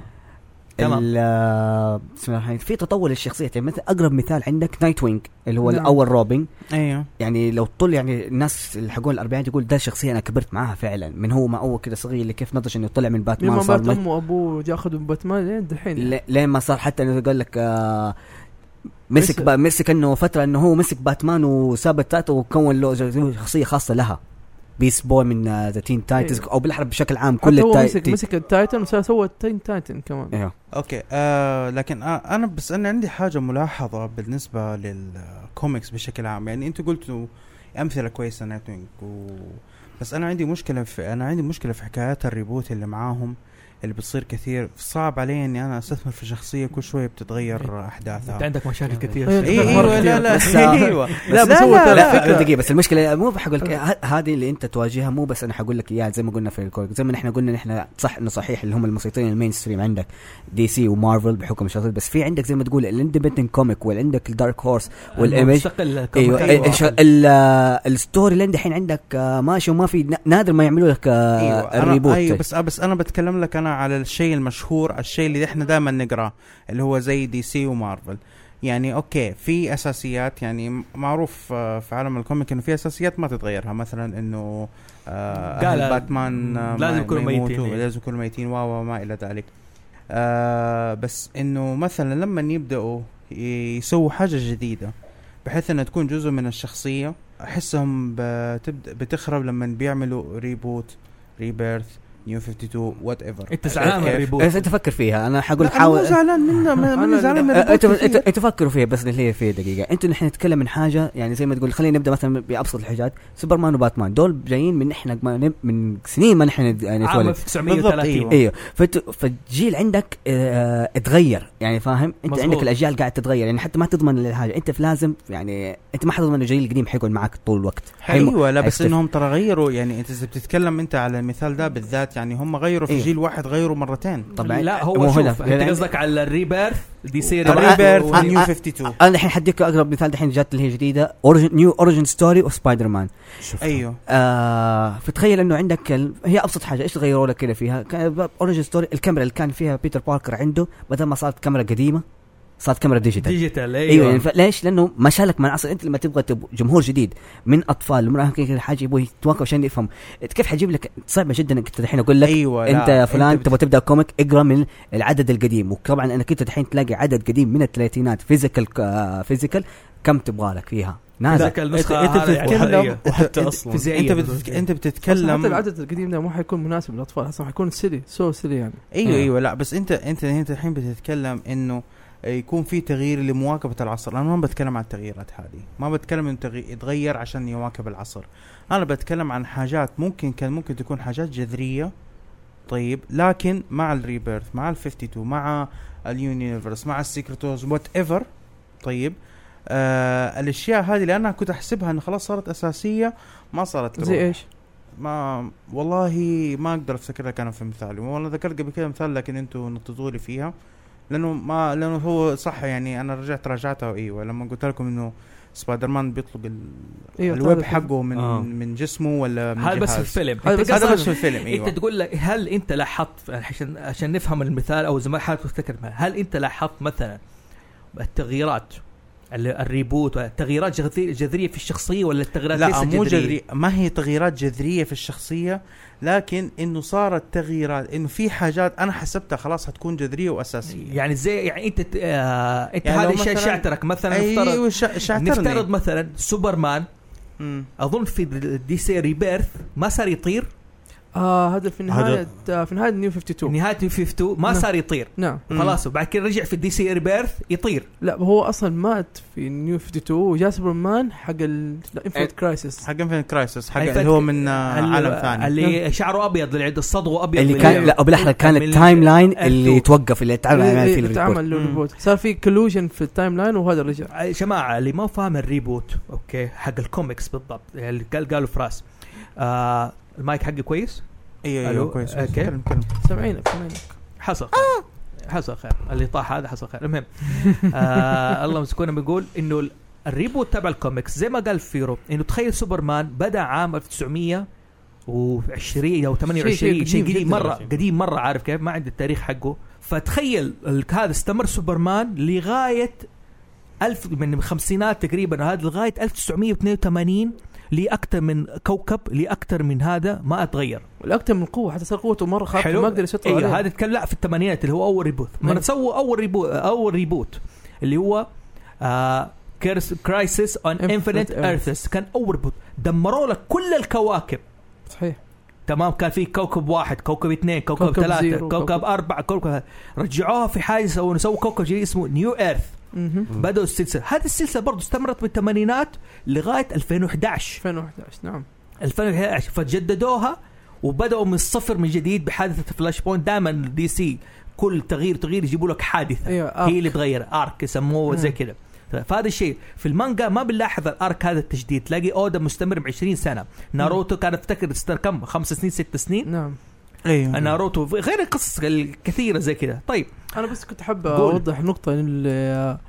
S1: تمام
S2: ال- آه، بسم الله الرحمن الرحيم في تطور للشخصية يعني مثلا اقرب مثال عندك نايت وينج اللي هو
S5: نعم.
S2: الاول روبن
S3: ايوه
S2: يعني لو طول يعني الناس اللي حقون الاربعينات يقول ده شخصية انا كبرت معاها فعلا من هو ما اول كده صغير اللي كيف نضج انه طلع من
S5: ليه
S2: باتمان
S5: ما
S2: صار
S5: مات
S2: مايك-
S5: امه وابوه جا اخذوا من باتمان لين إيه، دحين
S2: ل- لين ما صار حتى انه قال لك آه مسك
S5: مسك.
S2: با مسك انه فتره انه هو مسك باتمان وساب التاتا وكون له ج- شخصيه خاصه لها بيس بوي من آه، ذا تين تايتنز
S5: أيوه.
S2: او بالحرب بشكل عام
S5: كل
S2: كل
S5: هو
S2: التاي-
S5: مسك
S2: تي-
S5: مسك التايتن وسوى التين تايتن كمان
S2: ايوه
S3: اوكي آه لكن آه انا بس انا عندي حاجه ملاحظه بالنسبه للكوميكس بشكل عام يعني انتوا قلتوا امثله كويسه نايت وينج و... بس انا عندي مشكله في انا عندي مشكله في حكايات الريبوت اللي معاهم اللي بتصير كثير صعب علي اني انا استثمر في شخصيه كل شويه بتتغير احداثها
S1: انت عندك مشاكل كثير
S5: أيوة.
S1: شكلك.
S5: أيوه،
S1: مرة
S3: ايوه لا
S1: كثير.
S3: لا
S2: بس-
S3: ايوه
S2: لا
S5: لا،
S2: بس
S5: بس هو
S2: لا,
S5: ترى
S2: لا
S5: فكرة-
S2: فكره دقيقه بس المشكله مو بحقول لك ه- هذه اللي انت تواجهها مو بس انا حقول لك اياها زي ما قلنا في الكورك زي ما نحن قلنا نحن صح انه صحيح اللي هم المسيطرين المين ستريم عندك دي سي ومارفل بحكم الشخصيات بس في عندك زي ما تقول الاندبندنت كوميك وعندك الدارك هورس والايمج
S1: مستقل كم-
S3: إيوه،
S2: ايوه
S1: أيوة.
S3: إيه،
S2: ال- الش- ال- الستوري لاين دحين عندك آه، ماشي وما في ن- نادر ما يعملوا لك آه،
S3: أنا أيوة
S2: الريبوت
S3: بس بس انا بتكلم لك انا على الشيء المشهور الشيء اللي احنا دائما نقراه اللي هو زي دي سي ومارفل يعني اوكي في اساسيات يعني م- معروف آه، في عالم الكوميك انه في اساسيات ما تتغيرها مثلا انه آه
S1: قال
S3: أهل باتمان آه، ما-
S1: لازم
S3: ما
S1: يكونوا
S3: يموتوا،
S1: ميتين، إيه.
S3: لازم يكونوا ميتين و- وما الى ذلك آه بس انه مثلا لما يبداوا ي- يسووا حاجه جديده بحيث انها تكون جزء من الشخصيه احسهم بتبدا بتخرب لما بيعملوا ريبوت ريبيرث نيو 52 وات ايفر
S1: انت زعلان من الريبوت
S2: بس انت فكر إيه، فيها انا حقول
S3: حاول
S2: حاول
S3: انا مو زعلان منه ما- ماني
S5: أنا-
S3: زعلان من
S2: آه،
S3: الريبوت
S2: انتوا انتوا
S3: كثير.
S2: انتوا فكروا فيها بس اللي هي فيها دقيقه انتوا نحن نتكلم عن حاجه يعني زي ما تقول خلينا نبدا مثلا بابسط الحاجات سوبرمان وباتمان دول جايين من احنا ما نب- من سنين ما نحن نت-
S3: يعني
S1: عام
S2: نتولد
S1: 1930
S3: أيوة.
S2: ايوه فت- فالجيل عندك آه، اتغير يعني فاهم انت
S1: مظبوط.
S2: عندك الاجيال قاعد تتغير يعني حتى ما تضمن الحاجه انت لازم يعني انت ما حتضمن الجيل القديم حيكون معك طول الوقت حيم-
S3: ايوه لا بس
S2: حيختفي.
S3: انهم ترى غيروا يعني انت إذا بتتكلم انت على المثال ده بالذات يعني هم غيروا في
S2: أيوة.
S3: جيل واحد غيروا مرتين
S2: طبعا
S1: لا هو
S2: مو
S1: شوف
S2: هنا. يعني
S1: انت قصدك على الريبيرث دي سي
S2: طبعاً.
S3: ريبيرث
S2: آه،
S3: ونيو
S2: آه،
S3: 52
S2: انا الحين حديك اقرب مثال دحين جات اللي هي جديده أوريجن نيو اوريجن ستوري اوف سبايدر مان
S4: شفت
S3: ايوه
S2: آه فتخيل انه عندك ال... هي ابسط حاجه ايش غيروا لك كذا فيها اوريجن ستوري الكاميرا اللي كان فيها بيتر باركر عنده بدل ما صارت كاميرا قديمه صارت كاميرا ديجيتال
S1: ديجيتال
S2: ايوه
S3: أيوة. إيوه،
S2: يعني
S1: ايوه
S2: ف- ليش؟ لانه ما شالك من العصر انت لما تبغى تب... جمهور جديد من اطفال لمراهقين كذا حاجه يبغوا يتواكبوا عشان يفهم كيف حجيب لك صعبه جدا انك الحين اقول لك
S3: ايوه لا،
S2: انت يا فلان
S3: أنت
S2: تبغى تبدا كوميك اقرا من العدد القديم وطبعا انك انت الحين تلاقي عدد قديم من الثلاثينات فيزيكال فيزيكال كم تبغى لك فيها نازل
S1: ذاك
S3: أنت- أنت
S1: النسخه هذا يعني
S3: بتتكلم-
S1: عادية.
S4: وحتى
S3: أنت-
S4: اصلا
S1: فيزيائية.
S3: انت بتتك- انت
S5: أصلاً حتى
S3: بتتكلم
S5: العدد القديم ده ما حيكون مناسب للاطفال اصلا حيكون سيلي سو سيلي يعني
S3: ايوه
S2: آه.
S3: ايوه لا بس انت انت انت الحين بتتكلم انه يكون في تغيير لمواكبه العصر انا ما بتكلم عن التغييرات هذه ما بتكلم انه تغي- يتغير عشان يواكب العصر انا بتكلم عن حاجات ممكن كان ممكن تكون حاجات جذريه طيب لكن مع الريبيرث مع ال 52 مع اليونيفرس مع السيكريتوز وات ايفر طيب آه الاشياء هذه اللي انا كنت احسبها انه خلاص صارت اساسيه ما صارت
S5: زي إيه؟
S3: تروح.
S5: ايش؟
S3: ما والله ما اقدر افتكر لك انا في مثال والله ذكرت قبل كذا مثال لكن انتوا نطيتوا لي فيها لانه ما لانه هو صح يعني انا رجعت راجعتها ايوه لما قلت لكم انه سبايدر مان بيطلق ال...
S5: ايوه
S3: الويب
S5: تعرف.
S3: حقه من
S4: آه.
S3: من جسمه ولا من
S1: هذا بس في
S3: جهاز.
S1: الفيلم
S5: هذا
S1: أنت
S5: بس-
S1: قصدك-
S3: هذا بس في الفيلم
S1: أيوة.
S3: ايوه
S1: انت تقول لك هل انت لاحظت عشان عشان نفهم المثال او زي ما حضرتك تفتكر مثلا، هل انت لاحظت مثلا التغييرات ال- الريبوت التغييرات جذري- جذريه في الشخصيه ولا التغييرات
S3: لا
S1: ليست
S3: مو
S1: جذرية؟
S3: جذرية ما هي تغييرات جذرية في الشخصية لكن انه صارت تغييرات انه في حاجات انا حسبتها خلاص هتكون جذرية واساسية
S1: يعني زي يعني انت ت- آه انت
S3: يعني لو
S1: هذه الشيء
S3: مثلاً-
S1: شعترك مثلا نفترض
S3: ايوه شا- شعترني
S1: نفترض مثلا سوبرمان
S3: مم.
S1: اظن في دي سي ريبيرث ما صار يطير
S5: اه هذا في النهايه
S4: هذا-
S5: آه في نهايه نيو 52
S1: نهايه 52 ما
S5: نعم.
S1: صار يطير
S5: نعم
S3: مم.
S1: خلاص وبعد كده رجع في دي سي ريبيرث يطير
S5: لا هو اصلا مات في نيو 52 وجاء سوبر مان حق الانفينيت كرايسيس
S3: حق انفينيت كرايسس حق
S1: الفت-
S3: اللي هو من آه،
S1: اللي-
S3: عالم ثاني
S1: اللي شعره ابيض اللي عنده الصدغه ابيض
S2: اللي كان لا بالاحرى كان
S1: إيه؟
S2: التايم لاين اللي
S1: التو-
S2: توقف اللي
S5: إيه،
S2: تعمل فيه الريبورت
S5: تعمل
S3: مم.
S5: الريبوت صار في كلوجن في التايم لاين وهذا رجع
S1: يا جماعه آه، اللي ما فاهم الريبوت اوكي حق الكوميكس بالضبط اللي قال قالوا فراس آه المايك حقي كويس
S3: ايوه
S1: ألو،
S3: ايوه كويس
S1: أوكي.
S3: كلم كلم
S5: سامعينك سامعينك
S1: حصل خير
S5: آه.
S1: حصل خير اللي طاح هذا حصل خير المهم آه الله مسكونا بيقول انه ال- الريبوت تبع الكوميكس زي ما قال فيرو انه تخيل سوبرمان بدا عام 1920 او 28
S5: شيء- شيء
S1: شيء,
S5: قديم
S1: قديم
S5: جداً.
S1: مره
S5: يعني.
S1: قديم مره عارف كيف ما عندي التاريخ حقه فتخيل ال- هذا استمر سوبرمان لغايه ألف من الخمسينات تقريبا هذا لغايه 1982 لاكثر من كوكب لاكثر من هذا ما اتغير
S5: والاكثر من قوه حتى صار قوته مره خارقه
S1: حلو.
S5: ما قدر يسيطر
S1: ايوه
S5: عليها.
S1: هذا تكلم لا في الثمانينات اللي هو اول ريبوت ما
S5: مم.
S1: سووا اول ريبوت اول ريبوت اللي هو آه كرايسيس اون
S5: Infinite
S1: انفينيت ايرثس كان اول ريبوت دمروا لك كل الكواكب
S5: صحيح
S1: تمام كان في كوكب واحد كوكب اثنين كوكب,
S5: كوكب
S1: ثلاثة
S5: زيرو،
S1: كوكب,
S5: كوكب-
S1: أربعة كوكب رجعوها في حاجة سووا سووا كوكب جديد اسمه نيو ايرث
S5: مهم.
S4: مم.
S1: بدأوا السلسلة هذه السلسلة برضو استمرت من الثمانينات لغاية 2011
S5: 2011 نعم
S1: 2011 فجددوها وبداوا من الصفر من جديد بحادثه فلاش بوينت دائما دي سي كل تغيير تغيير يجيبوا لك حادثه
S5: ايوه آه.
S1: إيه، هي اللي تغير ارك يسموه
S5: مم.
S1: زي كذا فهذا الشيء في المانجا ما بنلاحظ الارك هذا التجديد تلاقي اودا مستمر ب 20 سنه ناروتو كان افتكر استر كم خمس سنين ست سنين
S5: نعم
S3: ايوه
S1: ناروتو غير القصص الكثيره زي كذا طيب
S5: انا بس كنت حاب
S1: قول.
S5: اوضح نقطه اللي آه،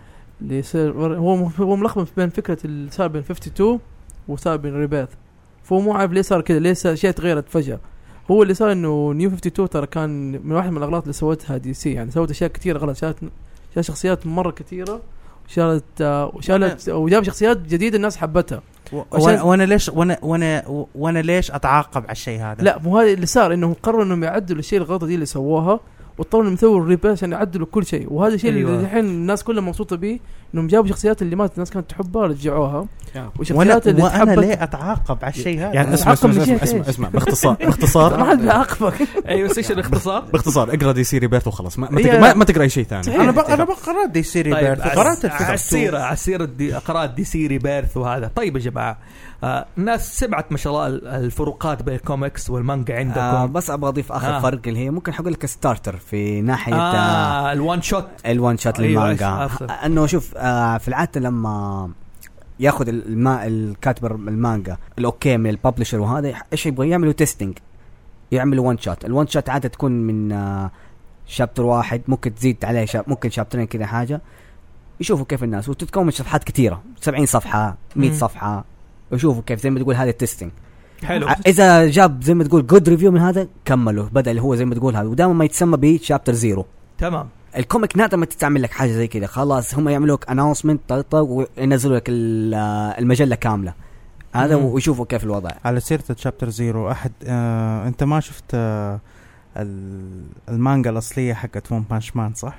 S5: اللي صار- هو مف- هو ملخبط بين فكره اللي صار بين 52 وصار بين ريبيث فهو مو عارف ليه صار كذا ليه صار اشياء تغيرت فجاه هو اللي صار انه نيو 52 ترى كان من واحد من الاغلاط اللي سوتها دي سي يعني سوت اشياء كثيره غلط شالت شالت شخصيات مره كثيره وشالت آه، وشالت وجاب شخصيات جديده الناس حبتها
S3: و- وانا وانا ليش وانا وانا وانا ليش اتعاقب على الشيء هذا
S5: لا مو هذا اللي صار انهم قرروا انهم يعدلوا الشيء الغلطه دي اللي سووها واضطروا انهم يسووا الريبير عشان يعدلوا كل شيء وهذا الشيء
S1: أيوة.
S5: اللي الحين الناس كلها مبسوطه به انهم جابوا شخصيات اللي ماتت الناس كانت تحبها رجعوها
S3: وانا
S5: وشخصيات اللي
S3: وانا
S5: تحبت
S3: ليه اتعاقب على الشيء هذا
S1: آه،
S4: يعني اسمع اسمع
S5: عقب
S4: اسمع,
S5: نجيت إيش؟
S4: اسمع, اسمع باختصار
S5: ما
S4: باختصار
S5: حد بيعاقبك
S1: ايوه ايش الاختصار؟
S4: باختصار اقرا دي سي ريبيرت وخلاص ما, ما,
S5: هي-
S4: تقرا- ما, ما تقرا اي شيء ثاني
S5: صحيح.
S3: انا بق- انا بقرات دي سي
S1: طيب
S3: ريبيرث
S1: عس-
S3: قرات الفكرة.
S1: عسيرة عسيرة دي قراءة دي سي ريبيرث وهذا طيب يا جماعة آه الناس سمعت ما شاء الله ال- الفروقات بين الكوميكس والمانجا عندكم
S2: آه
S1: آه
S2: بس ابغى اضيف اخر
S1: آه.
S2: فرق اللي هي ممكن حقول لك ستارتر في ناحيه آه
S1: آه الوان شوت
S2: الوان شوت
S1: أيوة،
S2: للمانجا
S1: أفضل.
S2: انه شوف آه في العاده لما ياخذ الما الكاتب المانجا الاوكي من الببلشر وهذا ايش يبغى يعملوا تيستنج يعملوا وان شوت الوان شوت عاده تكون من آه شابتر واحد ممكن تزيد عليه شاب ممكن شابترين كذا حاجه يشوفوا كيف الناس وتتكون من شطحات كثيره 70 صفحه 100
S1: مم.
S2: صفحه يشوفوا كيف زي ما تقول هذا التستنج
S1: حلو
S2: ع- اذا جاب زي ما تقول جود ريفيو من هذا كمله بدا اللي هو زي ما تقول هذا ودائما ما يتسمى بشابتر زيرو
S1: تمام
S2: الكوميك نادر ما تتعمل لك حاجه زي كذا خلاص هم يعملوا لك اناونسمنت وينزلوا لك ال- آه، المجله كامله هذا
S1: مم.
S2: ويشوفوا كيف الوضع
S3: على سيرة تشابتر زيرو احد آه انت ما شفت آه ال- المانجا الاصلية حقت ون بانش مان صح؟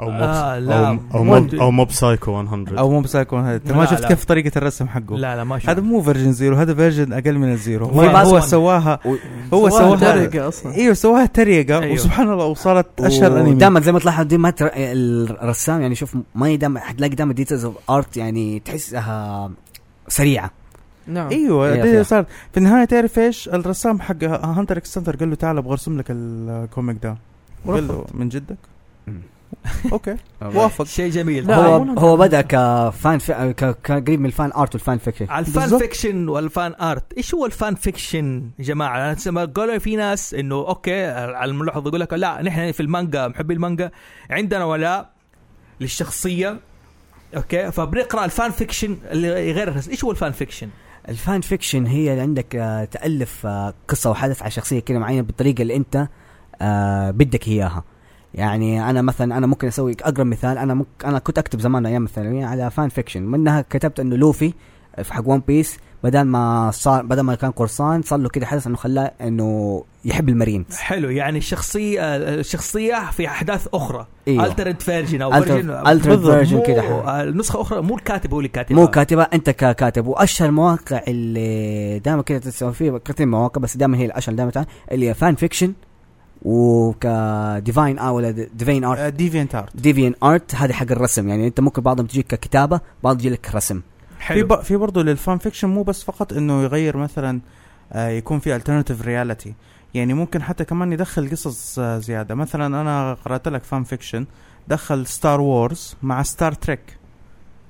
S4: او موب
S1: آه لا
S4: او او موب, أو موب سايكو 100
S3: او مو بسايكون هذا انت
S1: لا،
S3: ما شفت
S1: لا.
S3: كيف طريقة الرسم حقه؟
S1: لا لا ما شفت
S3: هذا مو فيرجن زيرو هذا فيرجن اقل من الزيرو
S1: في
S3: هو,
S1: بعض
S3: هو
S1: وان.
S3: سواها هو
S5: سواها
S3: سواها
S5: درجه اصلا
S3: ايوه سواها تريقة
S1: أيوه.
S3: وسبحان الله وصارت اشهر انمي
S2: دائما زي ما تلاحظ دي ما تر... الرسام يعني شوف ما دائما حتلاقي دائما ديتيلز اوف ارت يعني تحسها سريعه
S5: نعم
S3: ايوه
S2: يا
S3: دي
S2: أخي.
S3: صارت في النهايه تعرف ايش الرسام حق هانتر اكس هانتر قال له تعال ابغى ارسم لك الكوميك ده قال له من جدك؟ اوكي وافق
S1: شيء جميل طيب.
S5: لا،
S2: هو
S5: مو
S2: هو بدا كفان في... ك... كقريب من الفان ارت والفان فيكشن
S1: على الفان
S3: بالضبط.
S1: فيكشن والفان ارت ايش هو الفان فيكشن يا جماعه انا لما قالوا في ناس انه اوكي على الملاحظ يقول لك لا نحن في المانجا محبي المانجا عندنا ولاء للشخصيه اوكي فبنقرا الفان فيكشن اللي غير الرسم. ايش هو الفان فيكشن
S2: الفان فيكشن هي اللي عندك آه، تالف آه، قصه وحدث على شخصيه كده معينه بالطريقه اللي انت آه، بدك اياها يعني انا مثلا انا ممكن اسوي اقرب مثال انا ممكن انا كنت اكتب زمان ايام الثانويه على فان فيكشن منها كتبت انه لوفي في حق ون بيس بدل ما صار بدل ما كان قرصان صار له كده حدث انه خلاه انه يحب المارينز
S1: حلو يعني الشخصيه الشخصيه في احداث اخرى
S2: ايوه
S1: الترد فيرجن او
S2: Altered-
S1: أيوه. version-
S2: Altered
S1: بالضبط.
S2: version
S1: مو-
S2: كده.
S1: آه، النسخه اخرى مو الكاتب هو اللي كاتبها
S2: مو كاتبه انت ككاتب واشهر مواقع اللي دائما كده تسوي فيه كثير من المواقع بس دائما هي الاشهر دائما تعال- اللي هي فان فيكشن وكديفاين اه ولا ديفين
S3: آه.
S2: ارت
S3: ديفينت ارت
S2: ديفين ارت هذه حق الرسم يعني انت ممكن بعضهم تجيك ككتابه بعض يجي لك رسم
S3: في
S1: حلو
S3: ب... في برضه للفان فيكشن مو بس فقط انه يغير مثلا آه يكون في الترناتيف رياليتي يعني ممكن حتى كمان يدخل قصص آه زياده مثلا انا قرات لك فان فيكشن دخل ستار وورز مع ستار تريك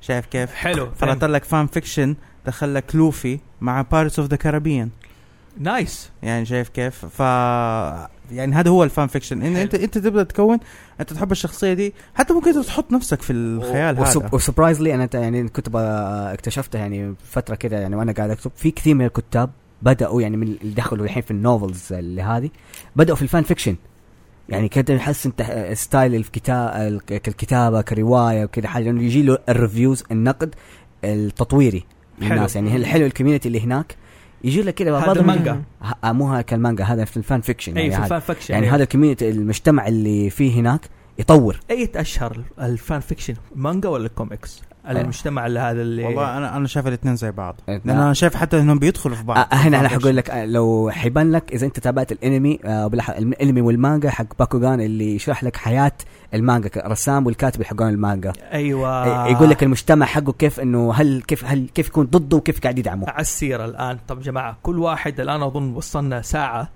S3: شايف كيف
S1: حلو
S3: قرات لك فان فيكشن دخل لك لوفي مع بارتس اوف ذا كاريبيان
S1: نايس
S3: يعني شايف كيف ف يعني هذا هو الفان فيكشن ان
S1: حلو.
S3: انت انت تبدا تكون انت تحب الشخصيه دي حتى ممكن أنت تحط نفسك في الخيال هذا
S2: وسب... وسبرايزلي انا ت- يعني كنت ب- اكتشفته يعني فتره كده يعني وانا قاعد اكتب في كثير من الكتاب بداوا يعني من اللي دخلوا الحين في النوفلز اللي هذه بداوا في الفان فيكشن يعني كده يحس انت ستايل الكتاب كالكتابه كروايه وكذا حاجه لانه يجي له الريفيوز النقد التطويري
S1: حلو.
S2: للناس يعني الحلو الكوميونتي اللي هناك يجي لك كده
S1: هذا
S2: بعضهم-
S1: مانجا
S2: ه- آه، مو هذا كالمانجا هذا في الفان فيكشن
S1: اي
S2: يعني,
S1: في
S2: هذا-
S1: الفان فيكشن
S2: يعني
S1: أيوة.
S2: هذا الكوميونتي المجتمع اللي فيه هناك يطور
S1: اية اشهر الفان فيكشن مانجا ولا كوميكس؟ المجتمع اللي هذا اللي
S2: إيه.
S3: والله انا انا شايف الاثنين زي بعض لان انا شايف حتى انهم بيدخلوا في بعض
S2: نعم. آه، هنا انا حقول لك آه، لو حيبان لك اذا انت تابعت الانمي آه، وبالأح- الم- الانمي والمانجا حق باكوغان اللي يشرح لك حياه المانجا ك- الرسام والكاتب حقون المانجا
S1: ايوه
S2: آه. يقول لك المجتمع حقه كيف انه هل كيف هل كيف يكون ضده وكيف قاعد يدعمه
S1: على السيره الان طب يا جماعه كل واحد الان اظن وصلنا ساعه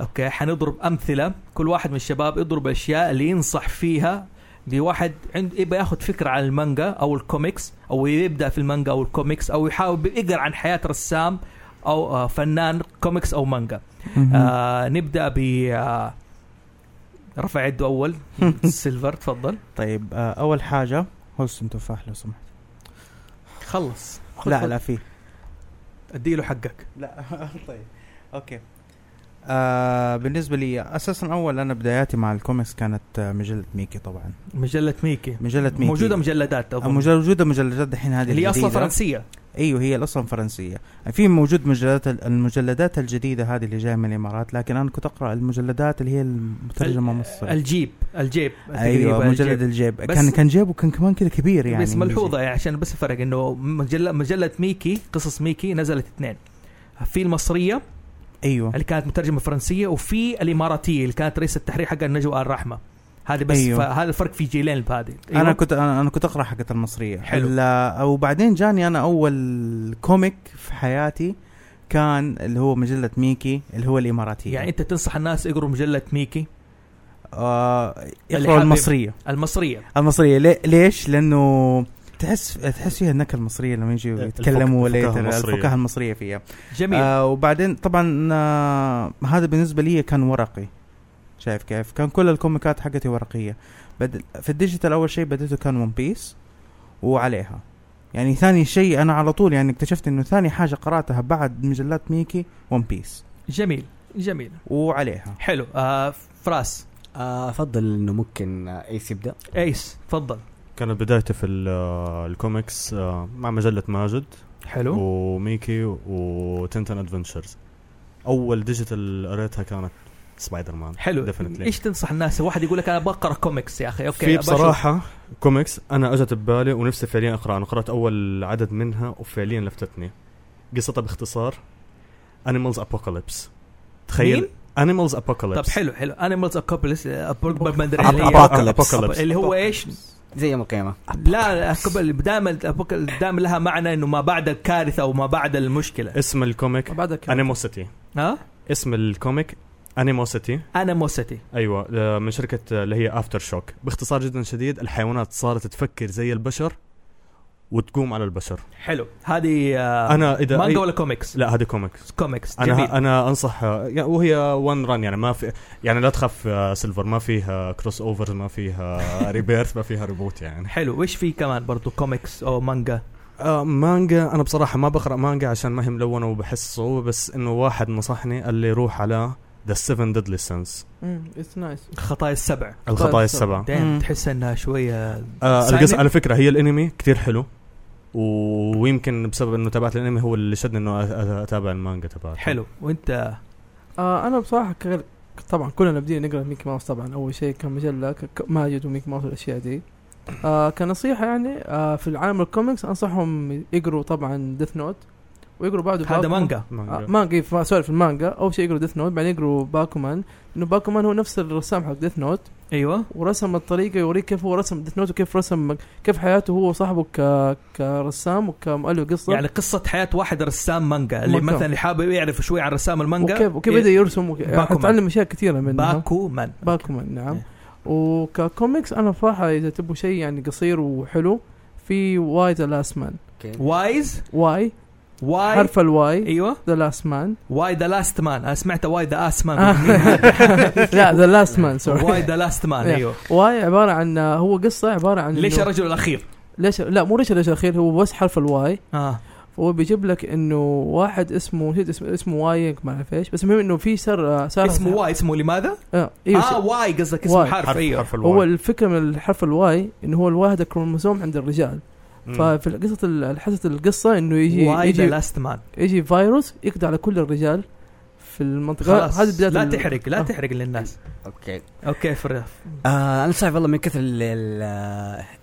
S1: اوكي حنضرب امثله كل واحد من الشباب يضرب الاشياء اللي ينصح فيها لواحد عند يبغى ياخذ فكره عن المانجا او الكوميكس او يبدا في المانجا او الكوميكس او يحاول يقرا عن حياه رسام او آه، فنان كوميكس او مانجا آه نبدا ب آه رفع يده اول سيلفر تفضل
S3: طيب آه اول حاجه هوسن تفاح لو سمحت
S1: خلص
S3: لا لا في
S1: اديله حقك
S3: لا طيب اوكي آه بالنسبه لي اساسا اول انا بداياتي مع الكوميكس كانت آه، مجله ميكي طبعا
S1: مجله ميكي
S3: مجله ميكي
S1: موجوده مجلدات
S3: آه،
S1: اظن
S3: مجل- موجوده مجلدات الحين هذه
S1: اللي هي اصلا
S3: الجديدة.
S1: فرنسيه
S3: ايوه هي اصلا فرنسيه في موجود مجلدات المجلدات الجديده هذه اللي جايه من الامارات لكن انا كنت اقرا المجلدات اللي هي المترجمه مصري
S1: الجيب الجيب تقريباً
S3: ايوه مجلد
S1: الجيب.
S3: الجيب
S1: بس-
S3: كان كان جيبه كان كمان كذا كبير يعني
S1: بس ملحوظه يعني عشان بس الفرق انه مجله مجله ميكي قصص ميكي نزلت اثنين في المصريه
S3: ايوه
S1: اللي كانت مترجمه فرنسيه وفي الاماراتيه اللي كانت رئيس التحرير حقها نجوى الرحمه هذه بس
S3: أيوه.
S1: أيوه. هذا الفرق في جيلين بهذه
S3: أيوة. انا كنت انا أنا كنت اقرا حقة المصريه
S1: حلو.
S3: لا- وبعدين جاني انا اول كوميك في حياتي كان اللي هو مجله ميكي اللي هو الاماراتيه
S1: يعني انت تنصح الناس يقروا مجله ميكي
S3: آه
S1: اللي
S3: يقرأوا
S1: حابب.
S3: المصريه
S1: المصريه
S3: المصريه لي- ليش؟ لانه تحس تحس فيها النكهه المصريه لما يجوا
S4: الفك-
S3: يتكلموا ولا
S4: الفكاهة
S3: يتر-
S4: المصرية.
S3: الفكاهه المصريه فيها
S1: جميل آه
S3: آه وبعدين طبعا آه هذا بالنسبه لي كان ورقي شايف كيف؟ كان كل الكوميكات حقتي ورقيه بد... في الديجيتال اول شيء بديته كان ون بيس وعليها يعني ثاني شيء انا على طول يعني اكتشفت انه ثاني حاجه قراتها بعد مجلات ميكي ون بيس
S1: جميل جميل
S3: وعليها
S1: حلو آه فراس
S2: آه، افضل انه ممكن آه، ايس يبدا
S1: ايس تفضل
S4: كانت بدايتي في ال- آه، الكوميكس آه، مع مجله ماجد
S1: حلو
S4: وميكي وتنتن ادفنتشرز اول ديجيتال قريتها كانت سبايدر مان
S1: حلو
S4: Definitely.
S1: ايش تنصح الناس واحد يقول لك انا بقرا كوميكس يا اخي اوكي
S4: في
S1: أبى أشوف.
S4: بصراحة كوميكس أنا أجت ببالي ونفسي فعليا أقرأ أنا قرأت أول عدد منها وفعليا لفتتني قصتها باختصار أنيمالز أبوكاليبس تخيل
S1: مين؟
S4: أنيمالز أبوكاليبس
S1: طب حلو حلو انيمالز اكوبلس
S2: Apocalypse.
S1: اللي هو ايش؟
S2: زي يوم القيامه
S1: لا Apocalypse دائما دائما لها معنى انه ما بعد الكارثه وما بعد المشكله
S4: اسم الكوميك
S5: بعدها كده
S4: أنيموسيتي
S1: ها؟
S4: اسم الكوميك انيموسيتي
S1: انيموسيتي
S4: ايوه آه، من شركه آه، اللي هي افتر شوك باختصار جدا شديد الحيوانات صارت تفكر زي البشر وتقوم على البشر
S1: حلو هذه آه،
S4: انا اذا
S1: مانجا
S4: أي...
S1: ولا كوميكس؟
S4: لا هذه كوميكس
S1: كوميكس جميل
S4: انا انا انصح يعني وهي وان ران يعني ما في يعني لا تخاف آه، سيلفر ما فيها كروس اوفرز ما فيها ريبيرث ما فيها ريبوت يعني
S1: حلو وش في كمان برضو كوميكس او مانجا
S4: آه مانجا انا بصراحه ما بقرا مانجا عشان ما هي ملونه وبحس صعوبه بس انه واحد نصحني قال لي روح على ذا 7 ديدلي سينس
S5: اتس نايس
S1: الخطايا السبع
S4: الخطايا السبعه
S1: دايم
S3: مم.
S1: تحس انها شويه
S4: آه
S1: سايلنت.
S4: القصة على فكره هي الانمي كتير حلو و- ويمكن بسبب انه تابعت الانمي هو اللي شدني انه أ- أ- اتابع المانجا تبعته
S1: حلو وانت
S5: آه انا بصراحه كغير طبعا كلنا بدينا نقرا ميكي ماوس طبعا اول شيء كان مجله ك- ك- ماجد وميكي ماوس والاشياء دي آه كنصيحه يعني آه في العالم الكوميكس انصحهم يقروا طبعا ديث نوت ويقروا بعده
S1: هذا
S5: باكو-
S1: مانجا
S5: آه
S4: مانجا.
S5: مانجا في سوري في المانجا اول شيء يقروا ديث نوت بعدين يقروا باكومان انه باكومان هو نفس الرسام حق ديث نوت
S1: ايوه
S5: ورسم الطريقه يوريك كيف هو رسم ديث نوت وكيف رسم كيف حياته هو وصاحبه ك... كرسام وكمؤلف قصه
S1: يعني قصه حياه واحد رسام مانجا اللي
S5: مانجا.
S1: مثلا اللي حابب يعرف شوي عن رسام المانجا إيه،
S5: وكيف وكيف بدا يرسم وك...
S1: باكومان.
S5: حتتعلم اشياء كثيره منها
S1: باكو مان
S5: باكومان نعم
S1: إيه.
S5: وككوميكس انا بصراحه اذا تبوا شيء يعني قصير وحلو في واي ذا لاست مان
S1: وايز
S5: واي
S1: واي
S5: حرف الواي
S1: ايوه
S5: ذا لاست مان
S1: واي ذا لاست مان انا سمعت واي ذا اس مان
S5: آه، لا ذا لاست مان سوري
S1: واي ذا لاست مان ايوه
S5: واي عباره عن هو قصه عباره عن
S1: ليش
S5: إنه-
S1: الرجل الاخير؟
S5: ليش لا مو ليش ليش الاخير هو بس حرف الواي
S1: اه
S5: فهو بيجيب لك انه واحد اسمه نسيت اسمه اسمه واي ما اعرف ايش بس المهم انه في سر صار
S1: اسمه واي اسمه لماذا؟
S5: آه. ايوه
S1: اه
S5: س-
S1: واي قصدك اسمه
S5: واي.
S1: حرف
S4: حرف
S1: ايوه
S4: حرف الواو
S5: هو الفكره من حرف الواي انه هو الواحد الكروموسوم عند الرجال
S4: مم.
S5: ففي قصه ال- حصه القصه انه يجي
S1: واي ذا
S5: يجي
S1: لاست مان
S5: يجي فيروس يقضي على كل الرجال في المنطقه
S1: خلاص
S5: هذه بدايه
S1: لا
S5: ال-
S1: تحرق لا
S5: آه.
S1: تحرق للناس
S2: اوكي
S1: اوكي فرف
S2: آه انا صعب والله من كثر ال- ال- آه،